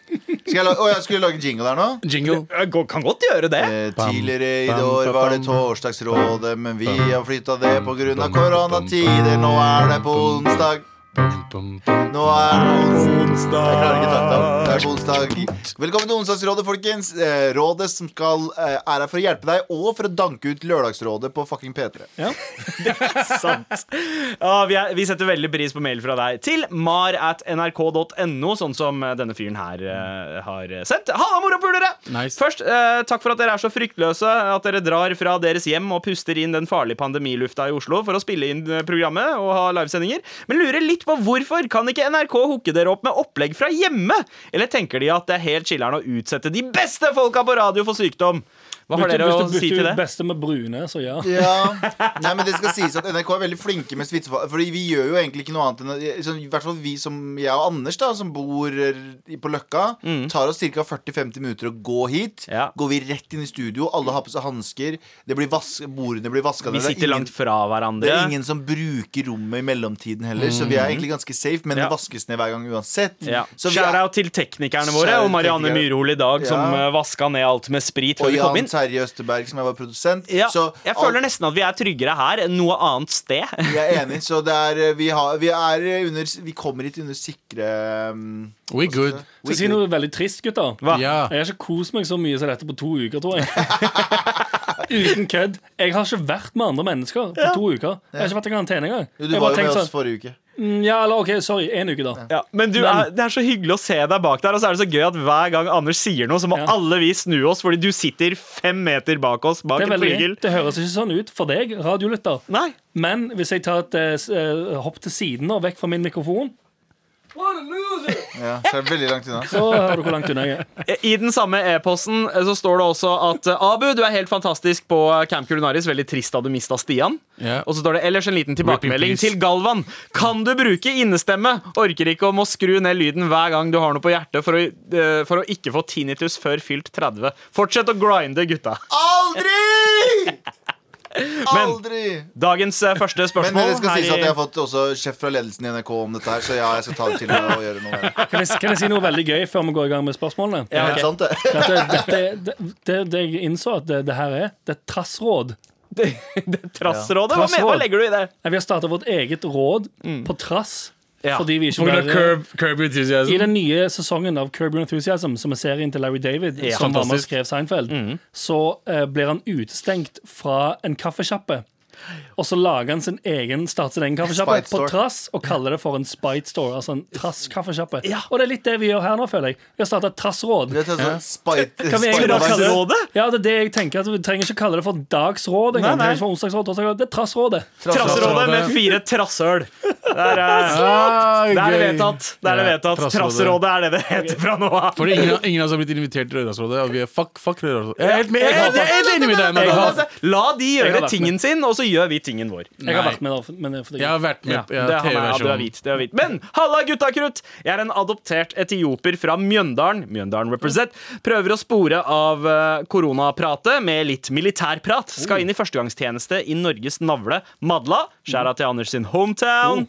Skal jeg, la- å, jeg skulle lage jingle der nå?
Jingle.
Jeg går- kan godt gjøre det.
Eh, Tidligere i det år var det torsdagsrådet, men vi har flytta det pga. koronatider. Nå er det på onsdag. Nå er det onsdag. Jeg klarer ikke takta. Det er på onsdag. Velkommen til Onsdagsrådet, folkens. Eh, Rådet som skal, eh, er her for å hjelpe deg og for å danke ut Lørdagsrådet på fucking P3.
Sant. Ja, vi, er, vi setter veldig pris på mail fra deg til mar at nrk.no, sånn som eh, denne fyren her eh, har sendt. Ha det morapulere!
Nice.
Først, eh, takk for at dere er så fryktløse at dere drar fra deres hjem og puster inn den farlige pandemilufta i Oslo for å spille inn eh, programmet og ha livesendinger. Men lurer litt på hvorfor kan ikke NRK hooke dere opp med opplegg fra hjemme? Eller tenker de at det er helt chiller'n å utsette de beste folka på radio for sykdom? Hva har dere å
Hvis du
si til
bytter ut
det?
beste med brune, så ja.
Ja, Nei, men det skal sies at NRK er veldig flinke med smittefare. Fordi vi gjør jo egentlig ikke noe annet enn å- sånn, I hvert fall vi som jeg og Anders, da som bor eh, på Løkka, tar oss ca. 40-50 minutter å gå hit.
Mm. Ja.
Går vi rett inn i studio, alle har på seg hansker, bordene blir vaska
Vi sitter langt fra hverandre. Mm.
det er ingen som bruker rommet i mellomtiden heller, så vi er egentlig ganske safe. Men
Ja.
det vaskes ned hver gang uansett.
Ja.
Mm. Så vi er,
Shout-out til teknikerne våre
Shout-out
og Marianne
teknikere.
Myrhol i dag, som
Ja.
eh, vaska ned alt med sprit før
og
vi kom
Jan
inn.
Terje Østerberg, som jeg var produsent.
Ja,
Så
jeg
alt-
føler nesten at vi er tryggere her enn noe annet sted.
Jeg er enig. Så det er, eh, vi, har, vi er under Vi kommer hit under sikre um,
We good.
Skal jeg si noe veldig trist, gutter?
Hva?
Ja.
Jeg har ikke kost meg så mye som dette på to uker, tror jeg. Uten kødd. Jeg har ikke vært med andre mennesker på to uker. Jeg har ikke vært i karantene engang.
Jo,
Jeg
Du
har
var
bare
jo med
tenkt
oss
sånn
forrige uke.
mm, Ja, eller OK, sorry. Én uke, da.
Ja, men du,
Men-
er, det er så hyggelig å se deg bak der, og så er det så gøy at hver gang Anders sier noe, så må
Ja.
alle vi snu oss, fordi du sitter fem meter bak oss bak
Det er
en
veldig
flygel.
gøy. Det høres ikke sånn ut for deg, radiolytter.
Nei.
Men hvis jeg tar et eh, s- eh, hopp til siden og vekk fra min mikrofon,
Ja, så er det veldig langt unna.
så hører du hvor langt unna jeg er.
I den samme e-posten eh, så står det også at eh, Abu, du er helt fantastisk på eh, Camp Kulinaris. Veldig trist da du mista Stian.
Ja.
Og så står det ellers en liten tilbakemelding
peace.
til Galvan. Kan du bruke innestemme? Orker ikke om å skru ned lyden hver gang du har noe på hjertet for å, eh, for å ikke få tinnitus før fylt 30. Fortsett å grinde, gutta.
Aldri! Aldri!
Dagens eh, første
Men
spørsmål
det skal
her
sies at
i-
jeg har fått også sjef fra ledelsen i NRK om dette her, så ja, jeg skal ta det til meg og gjøre noe med det.
Kan jeg, kan jeg si noe veldig gøy før vi går i gang med spørsmålene?
Er
ja,
det
ok.
sant, det?
Dette, dette, det, det, det jeg innså at det, det her er, det er et trassråd.
Trassrådet? Hva, men- hva
Trassråd.
legger du i det?
Nei, Vi har starta vårt eget råd på trass.
Ja.
Fordi vi ikke
På grunn av
var-
curb, curb
I
enthusiasm.
den nye sesongen av Curb Your Enthusiasm, som er serien til Larry David,
Ja,
som var med og
fantastisk.
skrev Seinfeld, så eh, blir han utestengt fra en kaffesjappe. Og så lager han sin egen starter sin egen kaffesjappe
Spite
på
store.
trass og kaller det for en Spite Store. Altså en trass-kaffesjappe. Og det er litt det vi gjør her nå, føler jeg. Vi har starta trassråd.
Det er sånn spite,
Kan vi egentlig bare kalle
spite
Trassrådet?
Ja, det er det jeg tenker at Vi trenger ikke kalle det for dagsråd.
Nei,
engang.
nei.
Det er for onsdagsråd, torsdagsråd. Det er trassrådet.
Trassrådet med fire trasshøl. Der
Ah,
er eh, Ah, Det er det vedtatt. Det er det vedtatt. Trasserådet er det det heter fra nå av.
For ingen, ingen av oss har blitt invitert til Rørdagsrådet, og vi er fuck, fuck Rørdagsrådet. Jeg er helt med, jeg
Eh,
er helt
det-
enig med deg.
det-
Nadia.
det- La de
Jeg har
gjøre
vært
tingen sin, og så så gjør vi tingen vår.
Jeg har
Nei.
vært med der, men det er fordi
Jeg har vært med
Ja,
på
det er han er- ja, du er
TV-versjonen.
hvit, du er hvit. Men halla, gutta krutt! Jeg er en adoptert etioper fra Mjøndalen. Mjøndalen represent. Prøver å spore av eh, koronapratet med litt militærprat.
Oh.
Skal inn i førstegangstjeneste i Norges navle, Madla. Skjæra til Anders sin hometown.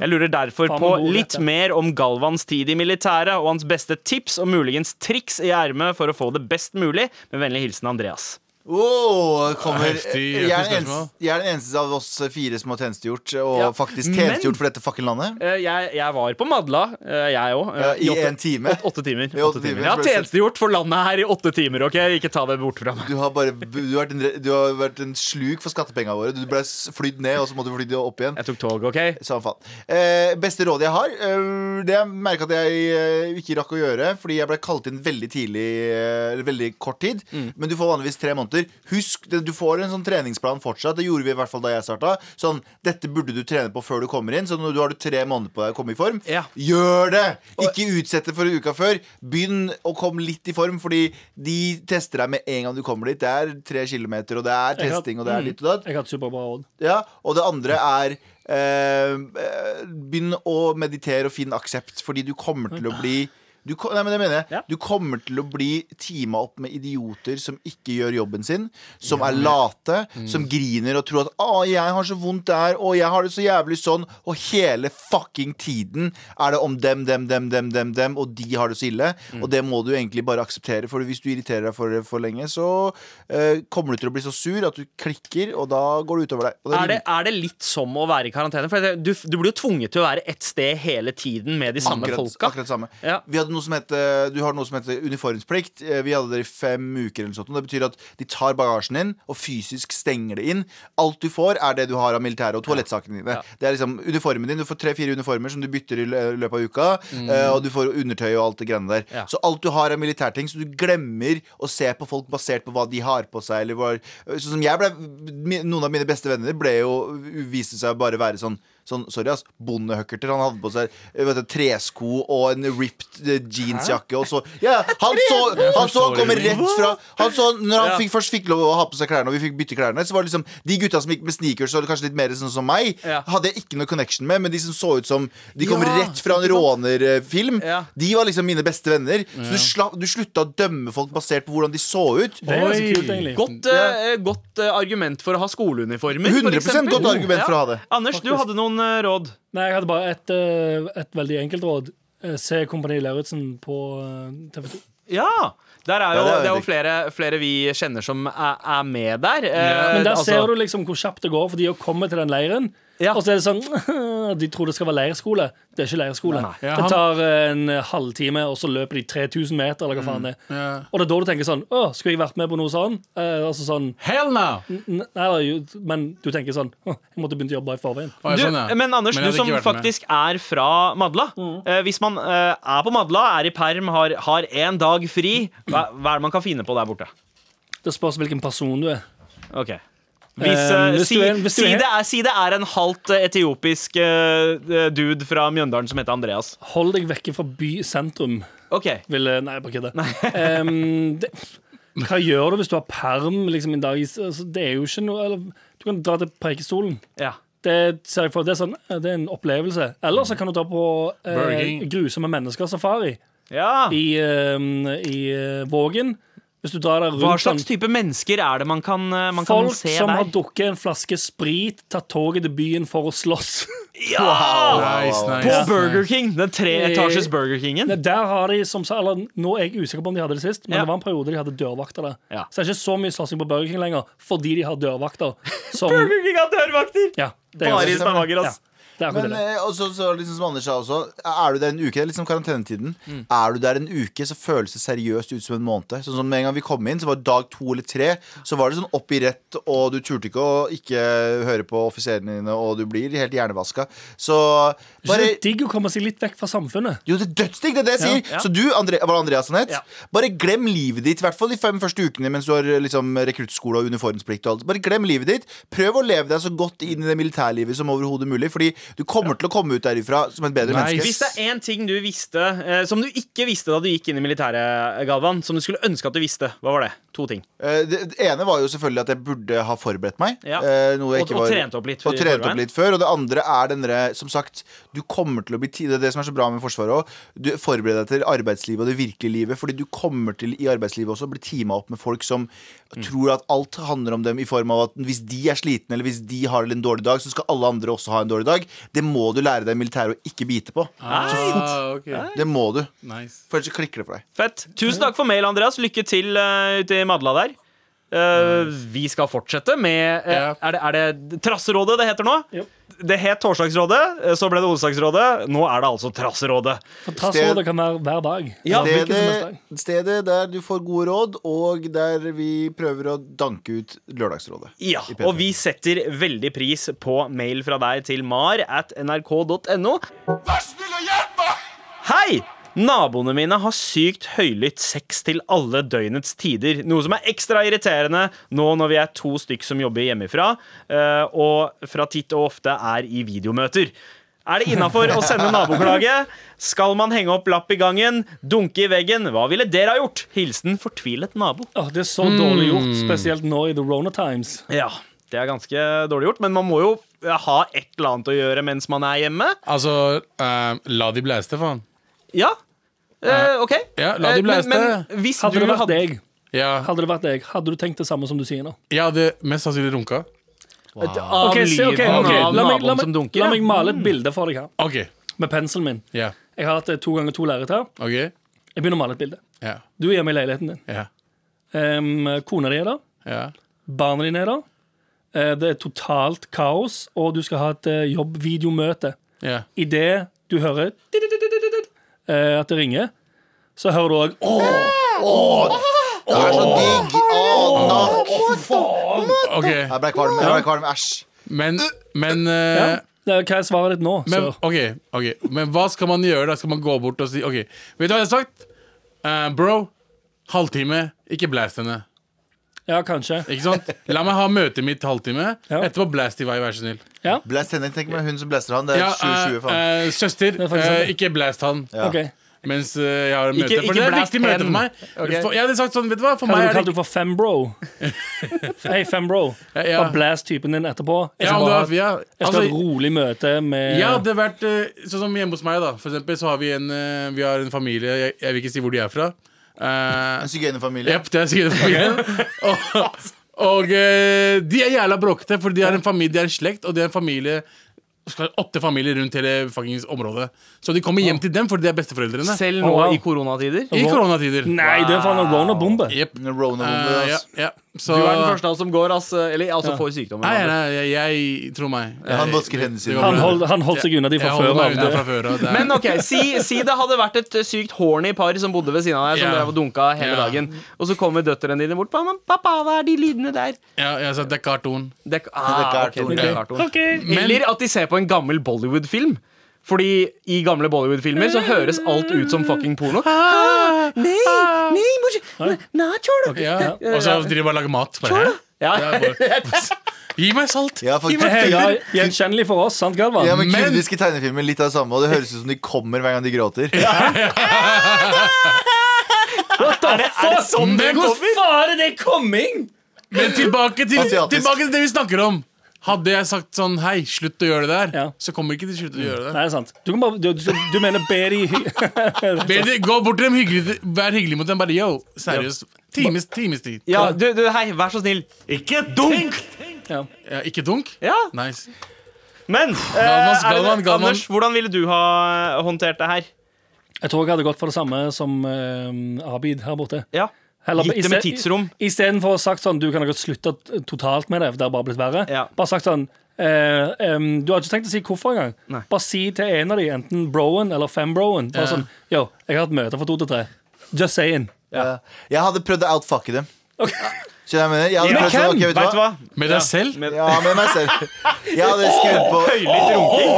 Jeg lurer derfor
Oh. Faen,
på
hvor god
litt
dette er.
mer om Galvans tid i militæret og hans beste tips og muligens triks i ermet for å få det best mulig. Med vennlig hilsen Andreas.
Åh, kommer
Heftig, heftig
jeg, er den eneste,
spørsmål.
jeg er den eneste av oss fire som har tjenestegjort, og
Ja,
faktisk
men-
tjenestegjort for dette fucking landet.
Eh, Jeg, jeg var på Madla, eh, jeg òg.
Ja, I en time.
Åtte timer.
I åtte
åtte timer.
timer.
Jeg har tjenestegjort for landet her i åtte timer. ok? Ikke ta det bort fra meg.
Du har, bare, du, har vært en, re- du har vært en sluk for skattepengene våre. Du ble s- flydd ned, og så måtte du flydd opp igjen.
Jeg tok tog, ok?
Samme faen. Eh, beste rådet jeg har, eh, det jeg merka at jeg eh, ikke rakk å gjøre, fordi jeg ble kalt inn veldig tidlig, eh, eller veldig kort tid,
Mm.
men du får vanligvis tre måneder. Husk, det- du får en sånn treningsplan fortsatt, det gjorde vi i hvert fall da jeg starta. Sånn, dette burde du trene på før du kommer inn, så nå har du tre måneder på deg å komme i form.
Ja.
Gjør det! Ikke utsett det for uka før. Begynn å komme litt i form, fordi de tester deg med en gang du kommer dit. Det er tre kilometer, og det er
Jeg har- Mm.
testing, og det
Mm.
er litt og datt.
Jeg har hatt superbra råd.
Ja, og det andre er eh, eh, Begynn å meditere og finn aksept, fordi du kommer til å bli du, ko- nei, men det mener jeg.
Ja.
du kommer til å bli teama opp med idioter som ikke gjør jobben sin, som er late, som griner og tror at 'Å, jeg har så vondt der, og jeg har det så jævlig sånn', og hele fucking tiden er det om dem, dem, dem, dem, dem, dem, og de har det så ille. Og det må du egentlig bare akseptere, for hvis du irriterer deg for det for lenge, så eh, kommer du til å bli så sur at du klikker, og da går det utover deg. Og
Er det, er det litt som å være i karantene? For det- du, du blir jo tvunget til å være ett sted hele tiden med de samme
akkurat,
folka.
Akkurat samme.
Ja.
Vi hadde noe som heter, du har noe som heter uniformsplikt. Eh, Vi hadde det i fem uker. eller noe sånt og Det betyr at de tar bagasjen din og fysisk stenger det inn. Alt du får, er det du har av militæret og toalettsakene dine. Det er liksom uniformen din. Du får tre-fire uniformer som du bytter i lø- løpet av uka. eh, Og du får undertøy og alt det greiene der.
Mm. Ja.
Så alt du har av militærting, så du glemmer å se på folk basert på hva de har på seg. Eller hva, sånn som jeg ble, mi- Noen av mine beste venner ble jo, viste seg bare være sånn Sånn, sorry ass, bondehøkkerter Han hadde på seg eh, vet du, tresko og en ripped eh, jeansjakke Og så, ja, han så, han så han kom rett fra han så, Når han
Ja.
fikk, først fikk lov å ha på seg klærne Og vi fikk bytte klærne Så var det liksom, de gutta som gikk med sneakers Og kanskje litt mer sånn som meg
Ja.
Hadde jeg ikke noe connection med Men de som så ut som De kom
Ja,
rett fra en rånerfilm
Ja.
De var liksom mine beste venner Så du, slapp, du slutta å dømme folk basert på hvordan de så ut
Det er ganske
Oi.
kult, egentlig.
Godt, eh, godt eh, argument for å ha skoleuniformer. for
100%
eksempel.
godt argument for å ha det.
Anders, du hadde noen eh, råd.
Nei, jeg hadde bare et, eh, et veldig enkelt råd. Eh, Se Kompani Lauritzen på eh, TV 2.
Ja! Der er jo,
Ja, det er
det er jo
digg.
flere, flere vi kjenner som er, er med der. Eh,
Men der
altså-
ser du liksom hvor kjapt det går for de å komme til den leiren.
Ja.
Og så er det sånn De tror det skal være leirskole. Det er ikke leirskole.
Nei.
Ja,
Det
han-
tar eh, en halvtime, og så løper de 3000 meter, eller hva faen det er.
Mm, Ja.
Og det er da du tenker sånn Å, skulle jeg vært med på noe sånn? Eh, altså sånn
Hell no!
n- Nei, det er jo- men du tenker sånn «Åh, Jeg måtte begynt å jobbe i forveien.
Å, jeg
Du,
skjønner.
men Anders,
sånn,
du
jeg
som
hadde ikke vært med.
faktisk er fra Madla.
Mm.
eh, hvis man eh, er på Madla, er i perm, har, har en dag fri, hva, hva er det man kan finne på der borte?
Det spørs hvilken person du er.
Ok hvis,
Eh,
eh,
hvis
si,
du er- hvis du
si,
er-
det er, si det er en halvt eh, etiopisk eh, dude fra Mjøndalen som heter Andreas.
Hold deg vekke fra bysentrum.
Ok,
Ville eh, Nei, jeg bare kødder. Em, det- hva gjør du hvis du har perm liksom, en dag? i- Altså, det er jo ikke noe eller, Du kan dra til Preikestolen.
ja
Det ser jeg for Det er, sånn, eh, det er en opplevelse. Eller
Mm.
så kan du dra på
Burger
eh,
King.
Grusomme mennesker-safari
ja.
i, em, i eh, Vågen. Hvis du drar der rundt
Hva slags
sånn-
type mennesker er det man kan, eh, man kan
Folk
se
som har
der?
drukket en flaske sprit, tatt toget til byen for å slåss.
Ja!
Nice, nice,
På
nice.
Burger King! Den treetasjes
Eh,
Burger Kingen.
Nei, Der har de, som sa, eller Nå er jeg usikker på om de hadde det sist, men
Ja.
det var en periode de hadde dørvakter der.
Ja.
Så det er ikke så mye slåssing på Burger King lenger, fordi de har dørvakter. Som,
Burger King har dørvakter!
ja, det er
Bare i
ganske-
Stavanger,
ja,
ass.
det er akkurat
Men
det.
eh, også, så, liksom, som Anders sa også, er du der en uke, det er liksom karantenetiden.
Mm.
Er du der en uke, så føles det seriøst ut som en måned. Sånn som En gang vi kom inn, så var det dag to eller tre. Så var det sånn opp i rett, og du turte ikke å ikke høre på offiserene dine, og du blir helt hjernevaska. Så
Det er
bare
ikke digg å komme seg litt vekk fra samfunnet.
jo, det er dødsdigg, det er det jeg sier!
Ja.
Så du, Andre, var det Andreas han het?
Ja.
Bare glem livet ditt, i hvert fall de fem første ukene mens du har liksom, rekruttskole og uniformsplikt og alt. Bare glem livet ditt. Prøv å leve deg så godt inn i det militærlivet som overhodet mulig, fordi du kommer til å komme ut derifra som et bedre
Nice.
menneske.
Hvis det er én ting du eh, visste eh, som du ikke visste da du gikk inn i militæret, Galvan, som du skulle ønske at du visste, hva var det? To ting.
Eh, Det det ene var jo selvfølgelig at jeg burde ha forberedt meg.
Ja.
eh, Noe jeg
Og-
ikke
og
var,
trent opp litt
og
i
trent
forveien.
opp litt før. Og det andre er denne, som sagt, du kommer til å bli ti- Det er det som er så bra med Forsvaret òg. Du forbereder deg til arbeidslivet og det virkelige livet. Fordi du kommer til i arbeidslivet også å bli teama opp med folk som
Mm.
tror at alt handler om dem i form av at hvis de er slitne, eller hvis de har en dårlig dag, så skal alle andre også ha en dårlig dag. Det må du lære deg i militæret å ikke bite på.
Ah, ok.
Det må du.
Nice.
For ellers så klikker det for deg.
Fett. Tusen takk for mail, Andreas. Lykke til eh, ute i Madla der. Eh, vi skal fortsette med eh,
Ja.
er, det, er det Trasserådet det heter nå?
Jo.
Det het Torsdagsrådet, eh, så ble det Onsdagsrådet. Nå er det altså Trasserådet.
For trassrådet kan være hver dag.
Ja.
Altså, hvilken som helst
stedet,
dag.
stedet der du får gode råd, og der vi prøver å danke ut Lørdagsrådet.
Ja,
I P3.
og vi setter veldig pris på mail fra deg til mar at nrk.no.
Vær snill og hjelp meg!
Hei! Naboene mine har sykt høylytt sex til alle døgnets tider. Noe som er ekstra irriterende nå når vi er to stykk som jobber hjemmefra, eh, og fra titt og ofte er i videomøter. Er det innafor å sende naboklage? Skal man henge opp lapp i gangen? Dunke i veggen? Hva ville dere ha gjort? Hilsen fortvilet nabo.
Åh, det er så dårlig gjort,
Mm.
spesielt nå i The Rona Times.
Ja, det er ganske dårlig gjort, men man må jo eh, ha et eller annet å gjøre mens man er hjemme.
Altså, eh, la de blæste, faen.
Ja, eh, OK.
Ja, la de
Eh,
blæste.
Men, men hvis
Hadde
du
det vært
hadde
deg,
Ja,
hadde det vært deg, hadde du tenkt det samme som du sier nå?
jeg hadde mest sannsynlig runka.
Av
Ok, se, ok,
lyden
ok.
av
La, meg,
naboen
la,
som
meg,
dunker.
la
ja.
meg male et bilde for deg her,
OK.
med penselen min.
Ja.
Jeg har hatt eh, to ganger to lerret her.
OK.
Jeg begynner å male et bilde.
Ja.
Du er hjemme i leiligheten din.
Ja.
Em, kona di er der.
Ja.
Barna dine er der. Eh, det er totalt kaos, og du skal ha et eh, jobbvideomøte.
Ja.
Idet du hører eh, at det ringer, så hører du òg
Det er så digg! Å, nakk!
OK.
Jeg ble kvalm. Jeg ble kvalm. Æsj.
Men, men eh,
Hva er svaret ditt nå?
Men,
sir?
ok, ok Men hva skal man gjøre da? Skal man gå bort og si Ok, vet du hva jeg har sagt? Eh, bro, halvtime, ikke blast henne
Ja, kanskje.
Ikke sant? La meg ha møtet mitt halvtime
Ja.
Etterpå blast i vei, vær så snill
Blast henne. Tenk meg hun som blaster han. Det er
ja,
2020, faen.
eh, eh, Søster,
er faktisk sant,
eh, ikke blast han
Ok.
Mens eh, jeg har møte
Ikke-
For
ikke
det er et
blast
viktig møte
hen.
for meg For- Jeg hadde sagt sånn, vet du hva? For
Hva
meg
hadde du
er
kalt
det
det for fembro? Hei, fembro.
Ja, ja.
Bare blast typen din etterpå. Jeg
ja,
skal,
om det
bare,
var, ja.
jeg skal ha et
Altså,
rolig møte med
jeg hadde vært eh, Sånn som hjemme hos meg da For eksempel så har vi en, eh, vi har en familie jeg, jeg vil ikke si hvor de er fra Eh,
En sigøynerfamilie.
Jepp, det er sikkert familien. og og eh, de er jævla bråkete, for de er en familie, de er en slekt, og de er en familie skal være åtte familier rundt hele fuckings området. Så de kommer hjem til dem, for de er besteforeldrene.
Selv nå
Å, wow.
i koronatider.
I koronatider.
Nei, det er faen en Rona-bombe.
Jepp.
En Rona-bombe.
Eh, ja,
ass.
ja. Så
Du er den første av oss som går, ass, eller altså, får sykdommen.
Nei, nei, jeg, jeg tror meg.
Han
Jeg-
vasker hendene
det
sine.
går bra.
Han, hold, han holdt seg unna de
Jeg
fra
holder
før
meg
av.
unna
Det.
fra før av. det er-
Men ok, si, si det hadde vært et eh, sykt horny par som bodde ved siden av deg, som
Ja.
drev og dunka hele
Ja.
dagen, og så kommer døtrene dine bort. Mamma, pappa, hva er de lydene der?
ja, jeg sa, det er karton.
Det, er- ah, ok,
Dekarton,
det er
ja.
karton. Eller at de ser på en gammel Bollywood-film. Fordi i gamle Bollywood-filmer så høres alt ut som fucking porno. Nei, nei, mor, na, cholo.
Ja. Og så driver de bare og lager mat. Bare,
Ja.
hæ? Det er bare- Gi meg salt!
Ja, faktisk.
Hei, ja, Gjenkjennelig for oss, sant, Galvan?
Ja, men
Men-
Kurdiske tegnefilmer, litt av det samme. Og det høres ut som de kommer hver gang de gråter.
Er det, er det sånn det
Men
går?
hvordan
faen er det coming?!
Men tilbake til,
Asiatisk.
tilbake til det vi snakker om. Hadde jeg sagt sånn Hei, slutt å gjøre det der,
Ja.
så kommer ikke de til slutt å gjøre det.
Nei, det er sant. Du, kan bare, du, du, du mener be de
Bedre gå bort til dem, hyggelig, vær hyggelig mot dem. Bare yo, seriøst. Times, times tid.
Ja, du, du, hei, vær så snill. Ikke dunk!
ja.
Ja, ikke dunk?
Ja,
Nice.
Men eh,
Galvan,
er det-
Galvan, Galvan.
Anders, hvordan ville du ha eh, håndtert det her?
Jeg tror jeg hadde gått for det samme som eh, Abid her borte.
Ja.
Heller-
Gitt
i
dem et
sted-
tidsrom.
i- Istedenfor å ha sagt sånn Du kan ha godt slutta t- totalt med det, for det har bare blitt verre.
Ja.
Bare sagt sånn eh, em, Du har ikke tenkt å si hvorfor engang.
Nei.
Bare si til en av de, enten broen eller fembroen, bare
Ja.
sånn Yo, jeg har hatt møter fra to til tre. Just saying.
Eh, Jeg hadde prøvd å outfucke dem. Skjønner du hva jeg mener? Jeg hadde
Men
prøvd sånn,
hvem?
ok, vet du hva?
Med deg selv?
Men,
Ja, med meg selv. Jeg hadde skrudd på
Høylytt runking.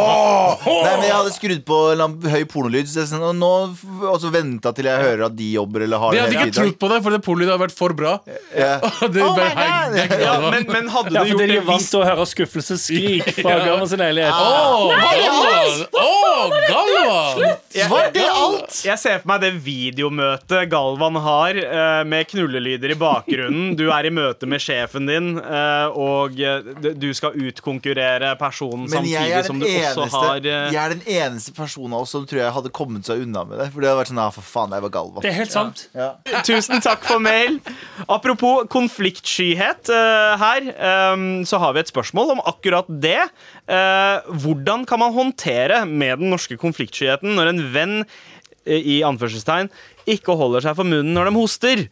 Nei, men jeg hadde skrudd på en eller annen høy pornolyd, så jeg sånn, og, nå, f- og så venta til jeg hører at de jobber eller har
De hadde
hele
ikke trodd på deg, for det poliet hadde vært for bra.
Ja.
Og det bare hang- det
Ja,
hang-
men, men hadde
Ja,
du
for
gjort
de
det
er vant
hvis
til å høre skuffelsesskrik fra Galvan sin
Ah.
leilighet.
Åh, Galvan! Åh, Galvan!
Var det alt?
Jeg ser for meg det videomøtet Galvan har eh, med knullelyder i bakgrunnen. Du er i møte med sjefen din, eh, og eh, d- du skal utkonkurrere personen
Men
samtidig
jeg er,
som
den
du
eneste,
også har eh,
jeg er den eneste personen av oss som tror jeg hadde kommet seg unna med det. For det hadde vært sånn, ah, for faen, jeg var Galvan.
Det er helt sant.
Tusen takk for mail. Apropos konfliktskyhet eh, her, eh, så har vi et spørsmål om akkurat det. Eh, hvordan kan man håndtere med den norske konfliktskyheten når en venn eh, i anførselstegn ikke holder seg for munnen når de hoster?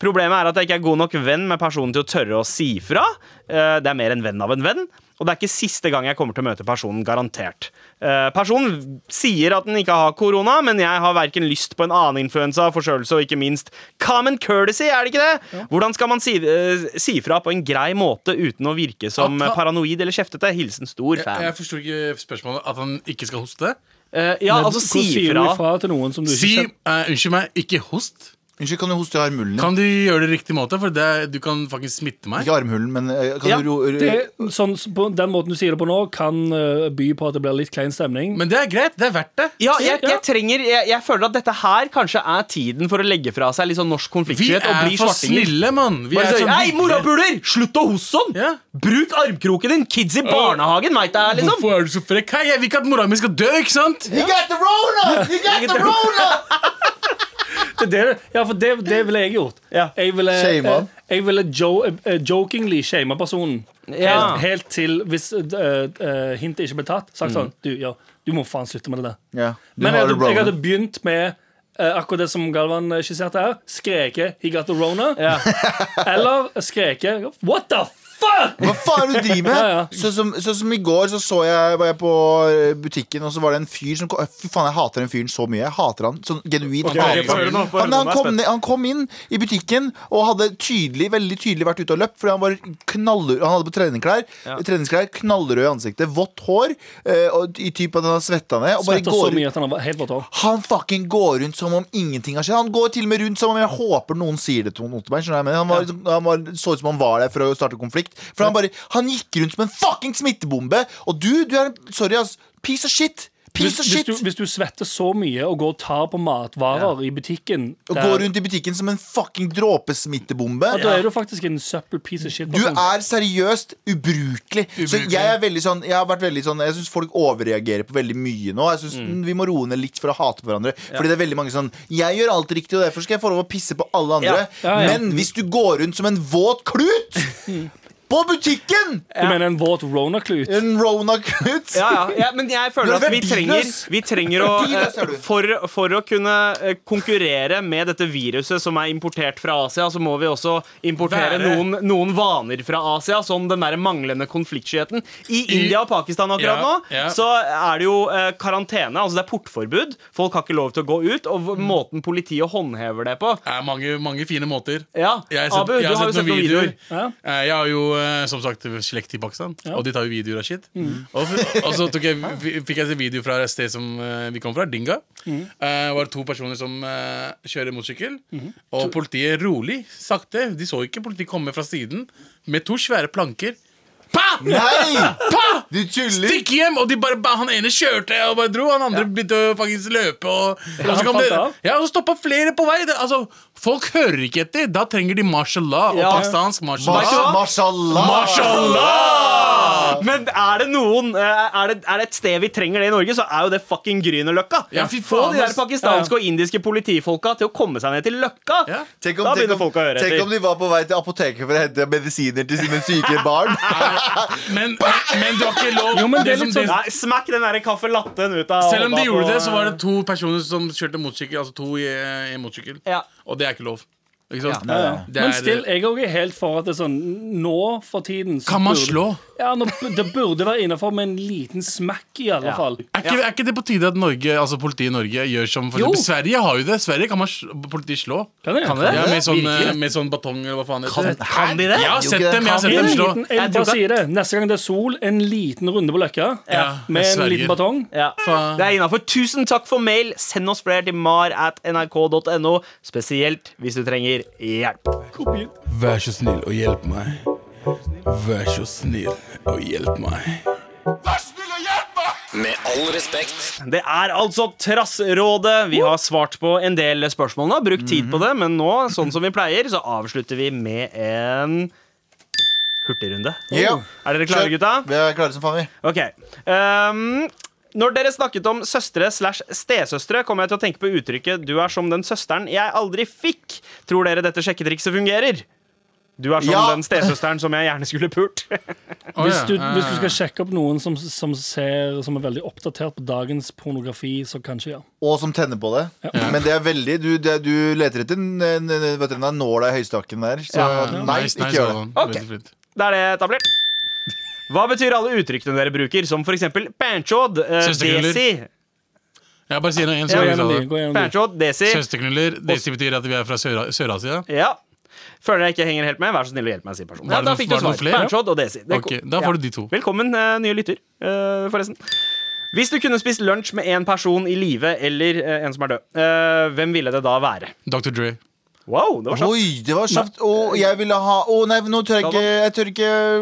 Problemet er at jeg ikke er god nok venn med personen til å tørre å si fra. Eh, Det er mer en venn av en venn. Og det er ikke siste gang jeg kommer til å møte personen, garantert. Eh, Personen sier at den ikke har korona, men jeg har verken lyst på en annen influensa, forkjølelse og ikke minst common courtesy, er det ikke det? Hvordan skal man si, eh, si fra på en grei måte uten å virke som eh,
At han-
paranoid eller kjeftete? Hilsen stor
Jeg,
fan.
jeg forstår ikke spørsmålet. At han ikke skal hoste?
Eh, Ja,
Men
altså
hvordan
si
sier du
fra.
ifra til noen som du ikke
Si
kjenner?
eh, Unnskyld meg, ikke host.
Unnskyld, kan du hoste i armhulen din?
Kan du gjøre det riktig måte? For det, du kan faktisk smitte meg.
Ikke armhulen, men eh, kan
Ja,
du ro... ro
Det, sånn, på den måten du sier det på nå, kan eh, by på at det blir litt klein stemning.
Men det er greit. Det er verdt det.
Ja, jeg,
Ja.
jeg trenger jeg, jeg føler at dette her kanskje er tiden for å legge fra seg litt sånn norsk
Vi
konfliktskyhet og
er
bli
for
svartinger.
snille, mann. Vi er
Bare
sånn
sånn, Hei,
hyggelige.
morapuler! Slutt å hoste sånn!
Ja.
Bruk armkroken din! Kids i barnehagen veit det her, liksom.
Hvorfor er du så frekk? Hei, jeg vil ikke at mora mi skal dø, ikke sant?
You got the rona! You got the rona!
Det, er det, ja, for det, det ville jeg gjort.
Ja.
Jeg ville,
Shame han.
eh, jeg ville jo, eh, jokingly shame personen.
Ja.
Helt, helt til hvis eh, eh, hintet ikke ble tatt. Sagt sånn du, ja, du må faen slutte med det der.
Ja, Mm. du
Men
har
jeg
the
hadde, jeg
rona.
hadde begynt med eh, akkurat det som Galvan eh, skisserte her. Skreke 'He got the Rona'. Eller skreke 'What the fuck?!
Hva faen er det du driver med?
Ja, ja.
Sånn som, sånn som i går så, så jeg, var jeg på eh, butikken, og så var det en fyr som kom Fy faen, jeg hater den fyren så mye. Jeg hater han. Sånn genuint.
Ok,
hater
få høre
han.
nå, få høre
Han,
nå,
han,
nå er jeg
kom, ned- han kom inn i butikken og hadde tydelig, veldig tydelig vært ute og løpt, fordi han var knallrød. Han hadde på treningsklær, treningsklær knallrød i ansiktet, vått hår, eh, og i type at han har svetta ned. Og bare
Svetter så
går
mye at han var helt våt hår.
han fucking går rundt som om ingenting har skjedd. Han går til og med rundt som om jeg håper noen sier det til noen til meg. skjønner du hva jeg mener? Han, var, liksom- han var, så ut som han var der for å starte konflikt. For han bare, han gikk rundt som en fucking smittebombe. Og du, du er Sorry, ass. Piece of shit. Piece
Hvis,
of
hvis,
shit.
du, hvis du svetter så mye og går og tar på matvarer i butikken
og
der-
går rundt i butikken som en fucking dråpesmittebombe.
Ja, da er du faktisk en søppel piece of shit.
Du
person.
er seriøst ubrukelig. Så
Ubrukelig.
jeg er veldig sånn Jeg har vært veldig sånn Jeg syns folk overreagerer på veldig mye nå. Jeg synes
Mm.
Vi må roe ned litt for å hate på hverandre. Fordi det er veldig mange sånn Jeg gjør alt riktig, og derfor skal jeg få lov å pisse på alle andre.
Ja.
Ja, ja.
Men hvis du går rundt som en våt klut på butikken
Du mener en våt Rona-klut?
En Rona-klut.
Ja, ja, ja, men jeg føler
Du er
at vi
verdiløs.
trenger, vi trenger å
Verdiløs er
eh,
du.
for, for å kunne eh, konkurrere med dette viruset som er importert fra Asia, så må vi også importere
Være-
noen, noen vaner fra Asia, som den der manglende konfliktskyheten. I India og Pakistan akkurat
Ja,
nå
ja.
så er det jo eh, karantene, altså det er portforbud. Folk har ikke lov til å gå ut, og v- måten politiet håndhever det på
Det er mange, mange fine måter.
Ja,
Jeg har sett,
Abu, du
jeg har sett, noen videoer.
Ja.
Eh, Jeg har jo eh, som sagt slekt i Pakistan, og de tar jo videoer av shit. Og, og så tok jeg, f- fikk jeg se video fra et sted som eh, vi kom fra, Dinga. Eh, var det to personer som eh, kjører motorsykkel, og politiet rolig, sakte De så ikke politiet komme fra siden med to svære planker. Pa!
Nei!
Pa!
Du tuller.
Stikk hjem! Og de bare, ba- han ene kjørte og bare dro. Han andre begynte å faktisk løpe. Og, og så
han
kom
falt
det,
av.
ja, og så stoppa flere på vei. Det, altså, folk hører ikke etter. Da trenger de mashallah og
Ja.
pakistansk
Vet du
mashallah.
hva?
Mashallah.
Men er det noen eh, er det, er det et sted vi trenger det i Norge, så er jo det fucking Grünerløkka.
Ja, fy
Få
faen,
de der
ass.
pakistanske og indiske politifolka til å komme seg ned til Løkka.
Ja.
Tenk om,
Da
tenk,
begynner
om,
folk å høre
tenk om
etter.
de var på vei til apoteket for å hente medisiner til sine syke barn.
Men, men du har ikke lov.
Jo, men det er
som-
litt sånn-
Nei, smack den der kaffe latten ut av
selv om de
hånda
gjorde
på-
det, så var det to personer som kjørte motorsykkel. Altså to i, i motorsykkel.
Ja.
Og det er ikke lov. Ikke sant?
Nei, nei.
Det
Men
er-
still, jeg òg er helt for at det er sånn Nå for tiden så
Kan man
burde-
slå?
Ja, nå, b- Det burde være innafor med en liten smekk, i alle fall.
Er ikke, er ikke det på tide at Norge, altså politiet i Norge gjør som for
Jo.
eksempel, Sverige har jo det. Sverige kan man sl politiet slå.
Kan det?
det? Ja, med, sånn,
Virkelig?
eh, med sånn batong eller hva faen det heter.
Kan de det?
Jeg har
Jo,
sett
ikke det.
dem jeg har sett
En
dem slå.
liten, jeg
Jeg tror
bare
ikke-
sier det. Neste gang det er sol, en liten runde på Løkka
Ja,
med en
Sverige.
liten batong.
Ja.
Faen.
Det er innafor. Tusen takk for mail. Send oss flere til mar at nrk.no, spesielt hvis du trenger hjelp.
Vær så snill og hjelp meg. Vær så snill og hjelp meg.
Med all respekt.
Det er altså Trassrådet. Vi har svart på en del spørsmål nå, brukt tid på det, men nå, sånn som vi pleier, så avslutter vi med en hurtigrunde.
Ja.
Er dere klare,
Kjør.
gutta?
Vi er klare som faen, vi.
Ok. Um, når dere snakket om søstre slash stesøstre, kom jeg til å tenke på uttrykket 'du er som den søsteren jeg aldri fikk'. Tror dere dette sjekketrikset fungerer? Du er som
Ja.
den stesøsteren som jeg gjerne skulle pult.
Å,
Hvis
ja.
du, hvis du skal sjekke opp noen som, som, ser, som er veldig oppdatert på dagens pornografi, så kanskje ja.
Og som tenner på det. Men det er veldig Du, det, du leter etter en, en, en, vet dere, en nåla i høystakken der. Så Ah, nei,
Ah, Nice,
ikke
nice,
gjør det.
Adam.
Ok.
Veldig fint.
Da er det etablert. Hva betyr alle uttrykkene dere bruker, som f.eks. panchod, eh,
Søsterknuller.
desi,
Jeg bare sier noe en
Gå
som jeg
gjennom
sa
de.
det.
Gå gjennom de.
Panchod, desi.
Søsterknuller. Det betyr at vi er fra Sør- Sør-Asia.
Ja. Føler jeg ikke henger helt med, vær så snill å hjelpe meg, sier personen.
Var
Ja,
det
da
noe-
fikk du
var det noe
svar.
flere?
Panchod og desi. Det-
Ok, da
ja.
får du de to.
Velkommen, eh, nye lytter, eh, forresten. Hvis du kunne spist lunsj med én person i live eller eh, en som er død, eh, hvem ville det da være?
Dr. Dre.
Wow, det var sant.
Oi, det var kjapt. Å, jeg ville ha Å, nei, nå tør jeg ikke Jeg tør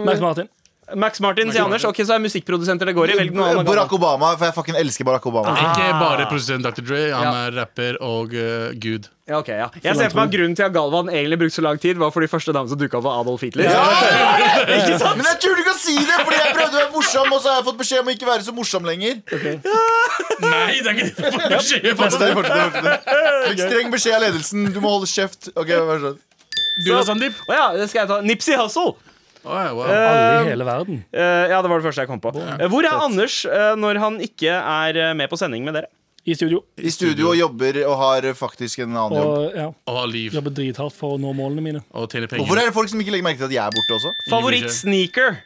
Max
ikke
Martin.
Max Martin, sier Anders. Ok, Så er musikkprodusenter det går i. Velg noen
Barack
annen.
Obama, for jeg fucking elsker Barack Obama.
Ikke bare produsent Dr. Dre, han er rapper og eh, gud.
Ja, ok, ja. Jeg ser for meg at Grunnen til at Galvan egentlig brukte så lang tid, var fordi første dame som dukka opp, var Adolf Hitler.
Men jeg turte ikke å si det, fordi jeg prøvde å være morsom, og så har jeg fått beskjed om å ikke være så morsom lenger.
Nei, det er ikke det!
Fortsett, fortsett, fortsett. Fikk streng beskjed av ledelsen. Du må holde kjeft. Ok, vær så snill.
Du da, Sandeep?
Å ja, det skal jeg ta. Nipsey Hussle.
Å, ja, wow.
Alle i hele verden.
Eh, ja, det var det første jeg kom på. Eh, Hvor er Anders eh, når han ikke er eh, med på sending med dere?
I studio.
I studio og jobber og har faktisk en annen jobb.
Og ja,
Å ha liv
jobber drithardt for å nå målene mine.
og tjene
Hvorfor
penger.
er det folk som ikke legger merke til at jeg er borte også?
Favoritt-sneaker?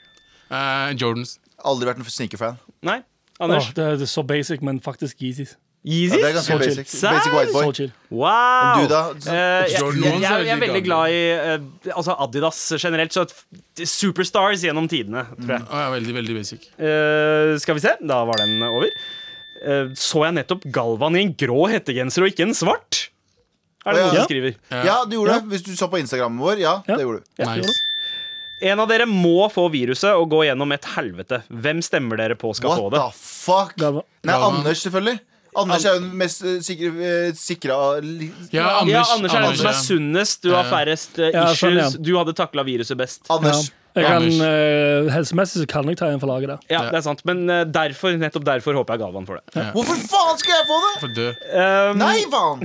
Eh, Jordans.
Aldri vært en sneakerfan.
Nei.
Åh,
Anders?
det, det er så basic, men faktisk Yeezys.
Ja, det er
Yeezys?
ganske basic. Basic white
Så
boy.
chill.
Wow!
Du da?
Eh, jeg,
Jordan
jeg,
ones er
jeg, jeg er
veldig
veldig glad i eh, altså Adidas generelt. Så at superstars gjennom tidene, tror jeg.
Å, ja, veldig, veldig basic.
Eh, skal vi se, da var den over. Eh, så jeg nettopp Galvan i en grå hettegenser og ikke en svart? Er det
Å, ja.
noen som skriver?
Ja, du gjorde det. Hvis du så på Instagrammen vår, ja,
Ja.
det gjorde du.
Nice.
En av dere må få viruset og gå gjennom et helvete. Hvem stemmer dere på skal
What
få det?
the fuck?
Galvan.
Nei,
Galvan.
Anders, selvfølgelig. Anders er jo den mest eh, sikre, eh, sikra li-
Ja, Anders.
Ja, Anders er den som er
ja.
sunnest. Du har færrest eh,
Ja, sånn, ja.
issues. Du hadde takla viruset best.
Ja.
Anders.
Jeg kan,
Anders.
eh, helsemessig så kan jeg ta en for laget der.
Ja, det er sant. Men eh, derfor, nettopp derfor håper jeg Galvan får det.
Hvorfor faen skal jeg få det?
For død.
Eh,
Nei, faen!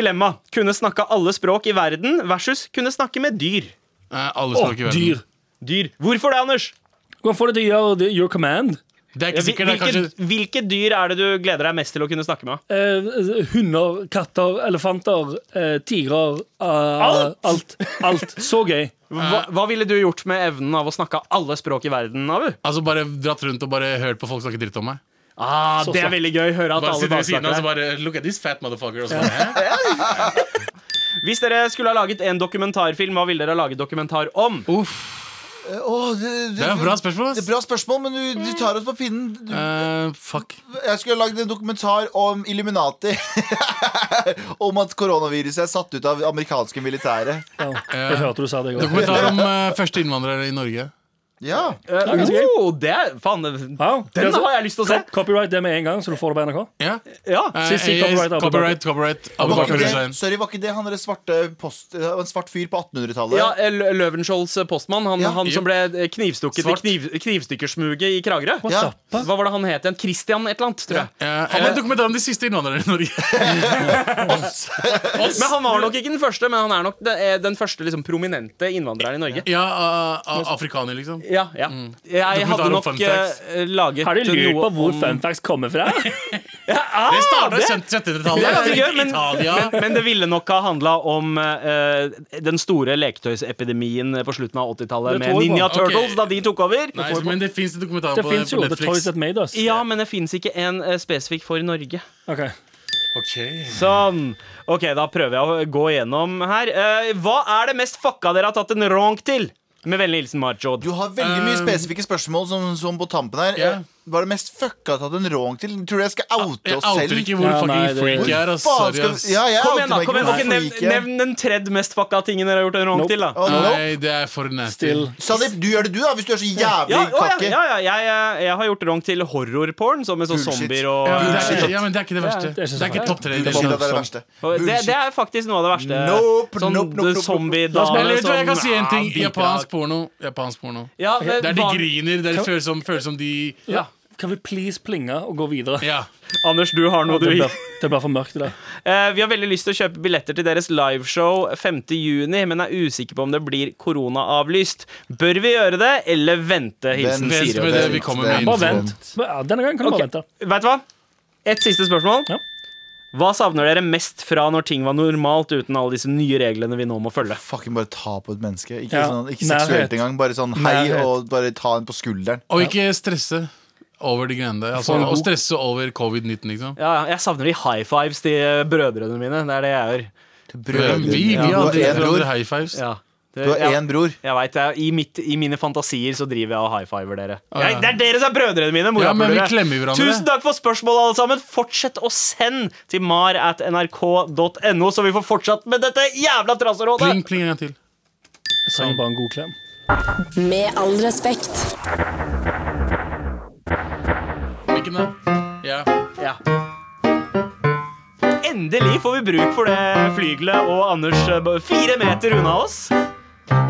Dilemma. Kunne snakka alle språk i verden versus kunne snakke med dyr.
Eh, alle språk i verden.
dyr.
Dyr. Hvorfor det, Anders?
Du kan få det til å gjøre det- your command.
Det er
Ja,
ikke
hvil-
sikkert det er kanskje
hvilke, hvilke dyr er det du gleder deg mest til å kunne snakke med?
Eh, hunder, katter, elefanter, eh, tigrer. eh,
Alt?
alt! Alt. Så gøy.
Hva, hva ville du gjort med evnen av å snakke alle språk i verden, Abu?
Altså bare dratt rundt og bare hørt på folk snakke dritt om meg.
Ah, det er
flott.
veldig gøy. Høre at
Bare
alle
sitte ved siden av og
baksnakker
så
deg.
bare Look at this fat motherfucker. Og så bare, hæ?
Hvis dere skulle ha laget en dokumentarfilm, hva ville dere ha laget dokumentar om?
Eh, Åh, det, det,
Det er et bra spørsmål.
Det
ass.
er bra spørsmål, men du, du tar oss på pinnen. Du,
Eh, fuck.
jeg skulle ha lagd en dokumentar om Illuminati. om at koronaviruset er satt ut av amerikanske militære.
Ja. Jeg hørte du sa det i går.
Dokumentar om eh, første innvandrere i Norge.
Ja.
Eh,
ganske gøy.
oh, det er, faen,
Wow.
den har jeg lyst til å se.
altså, Cop- Copyright det med en gang, så du får det på NRK.
Ja.
Ja.
Eh,
Si- si
eh,
copyright, Abu
copyright, copyright. Abu
Var
Bakr
ikke
Hussein.
det, sorry, var ikke det han der svarte post, det var en svart fyr på 1800-tallet?
Ja, eh, L- Løvenskiolds postmann. Han,
Ja.
han som ble eh, knivstukket i
Svart.
kniv, knivstikkersmuget i Kragerø.
Ja.
Hva var det han het igjen? Christian et eller annet, tror jeg.
Ja, eh, dokumentar om de siste innvandrerne i Norge.
Men han var nok ikke den første, men han er nok den, eh, den første liksom, prominente innvandreren i Norge.
Ja, uh, afrikaner, liksom.
Ja, ja. Jeg
Mm.
Dokumentar
hadde
om
nok
fun facts.
eh, laget
Har de lurt
noe
på hvor
om-
funfacts kommer fra?
Det startet i 1700-tallet.
Ja, det gjør, men,
Italia.
men, men det ville nok ha handla om eh, den store leketøysepidemien på slutten av 80-tallet
Det
med
tror jeg på.
Ninja
Ok.
Turtles da de tok over.
Nei, men det fins en dokumentar
Det
på,
fins
på
jo The Toys
Netflix.
That Made Us.
Ja, men det fins ikke en eh, spesifikk for Norge.
Ok.
Ok.
Sånn. Ok, da prøver jeg å gå gjennom her. Eh, hva er det mest fucka dere har tatt en ronk til? Med vennlig hilsen Marjod.
Du har veldig mye spesifikke spørsmål som, som på tampen her.
Um, Ja. Ah,
Eh, Hva er det mest fucka tatt en rång til? Tror du jeg skal oute
Jeg
oss
outer
selv?
ikke altså. hvor
Ja,
fucking
nei, det-
freak jeg er. ass.
Faen,
Sorry,
skal,
ass.
ja, jeg
Kom
outer
igjen, da.
meg
kom igjen, dere,
ikke, men
nevn,
freak jeg er.
nevn den tredje mest fucka tingen dere har gjort en ronk
Nope.
til. da
Å, nope.
Nei, det er for nasty.
Still.
Sandeep, du gjør det du, da, hvis du er så jævlig
Ja, å, ja,
kakke.
ja, ja, jeg, eh, jeg har gjort ronk til horrorporn, som med sånn
Bullshit.
zombier og
Ja, men det er
Bullshit.
ikke- ja, men det er ikke det verste.
det er ikke så
Det er ikke
farlig.
topp tre. i
Det,
Det altså.
er det,
skjønner
er det
jeg.
verste.
Og Det, det er faktisk noe av det verste.
Nope,
sånn
nope, nope, nope, nope.
zombie-dame
Eller vet du hva, jeg kan
som-
si en ting.
Ah, bidrar.
Japansk porno. Japansk porno.
Ja, det,
Der de
hva-
griner, der det føles som, føles som de
Ja. Kan vi please plinge og gå videre?
Ja.
Anders, du har noe
Det
du
blir, det blir for mørkt i dag.
Eh, Vi har veldig lyst til å kjøpe billetter til deres liveshow 5. juni, men er usikre på om det blir koronaavlyst. Bør vi gjøre det, eller vente? Hilsen
Vent
Vent
med
Siri.
det.
det vi kommer med. info.
Bare vent. Ja, denne gangen kan du
Ok.
bare vente.
Vet du hva? Et siste spørsmål.
Ja.
Hva savner dere mest fra når ting var normalt, uten alle disse nye reglene vi nå må følge?
Fucking bare ta på et menneske. Ikke,
Ja,
sånn, ikke
nærhet.
seksuelt engang. Bare sånn hei
Nærhet.
og bare ta en på skulderen.
Og ikke stresse over de greiene der. Altså,
For en
og
god-
stresse over covid-19, liksom.
Ja, ja, jeg savner de high fives til brødrene mine. Det er det jeg gjør.
Vi, vi
Ja, du
har
har
aldri
én
gitt hverandre
bror.
high fives.
Ja. Det,
Du har
ja.
én bror.
Jeg vet, jeg, i, mitt, I mine fantasier så driver jeg og high-fiver dere.
Ah, ja.
Jeg, det er dere som er brødrene mine!
Ja, men vi
morapulere.
klemmer hverandre.
Tusen takk for spørsmålet, alle sammen. Fortsett å sende til mar at nrk.no, så vi får fortsatt med dette jævla traserådet!
Pling, pling en gang til.
Jeg trenger bare en god klem.
Med all respekt.
Hvilken da? Ja.
Ja. Endelig får vi bruk for det flygelet og Anders eh, bare fire meter unna oss.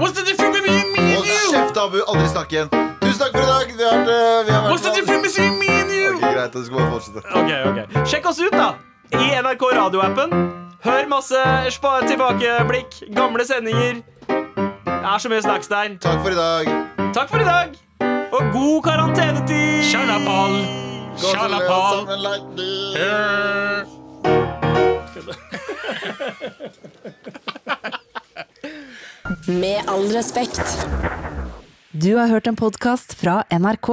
What's the difference between me
Hold kjeft, Abu. Aldri snakke igjen. Tusen takk for i dag. Vi har, vært- eh, vi har vært
between me and you?
Ok, Greit, du skal bare fortsette.
Ok, ok Sjekk oss ut, da! I NRK radioappen. Hør masse spa tilbakeblikk, gamle sendinger. Det er så mye snacks der.
Takk for i dag.
Takk for i dag, og god karantenetid!
Shalapal.
Gå til det, alle
Shalapal.
sammen, like du.
Eh.
Med all respekt.
Du har hørt en podkast fra NRK.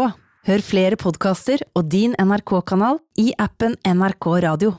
Hør flere podkaster og din NRK-kanal i appen NRK Radio.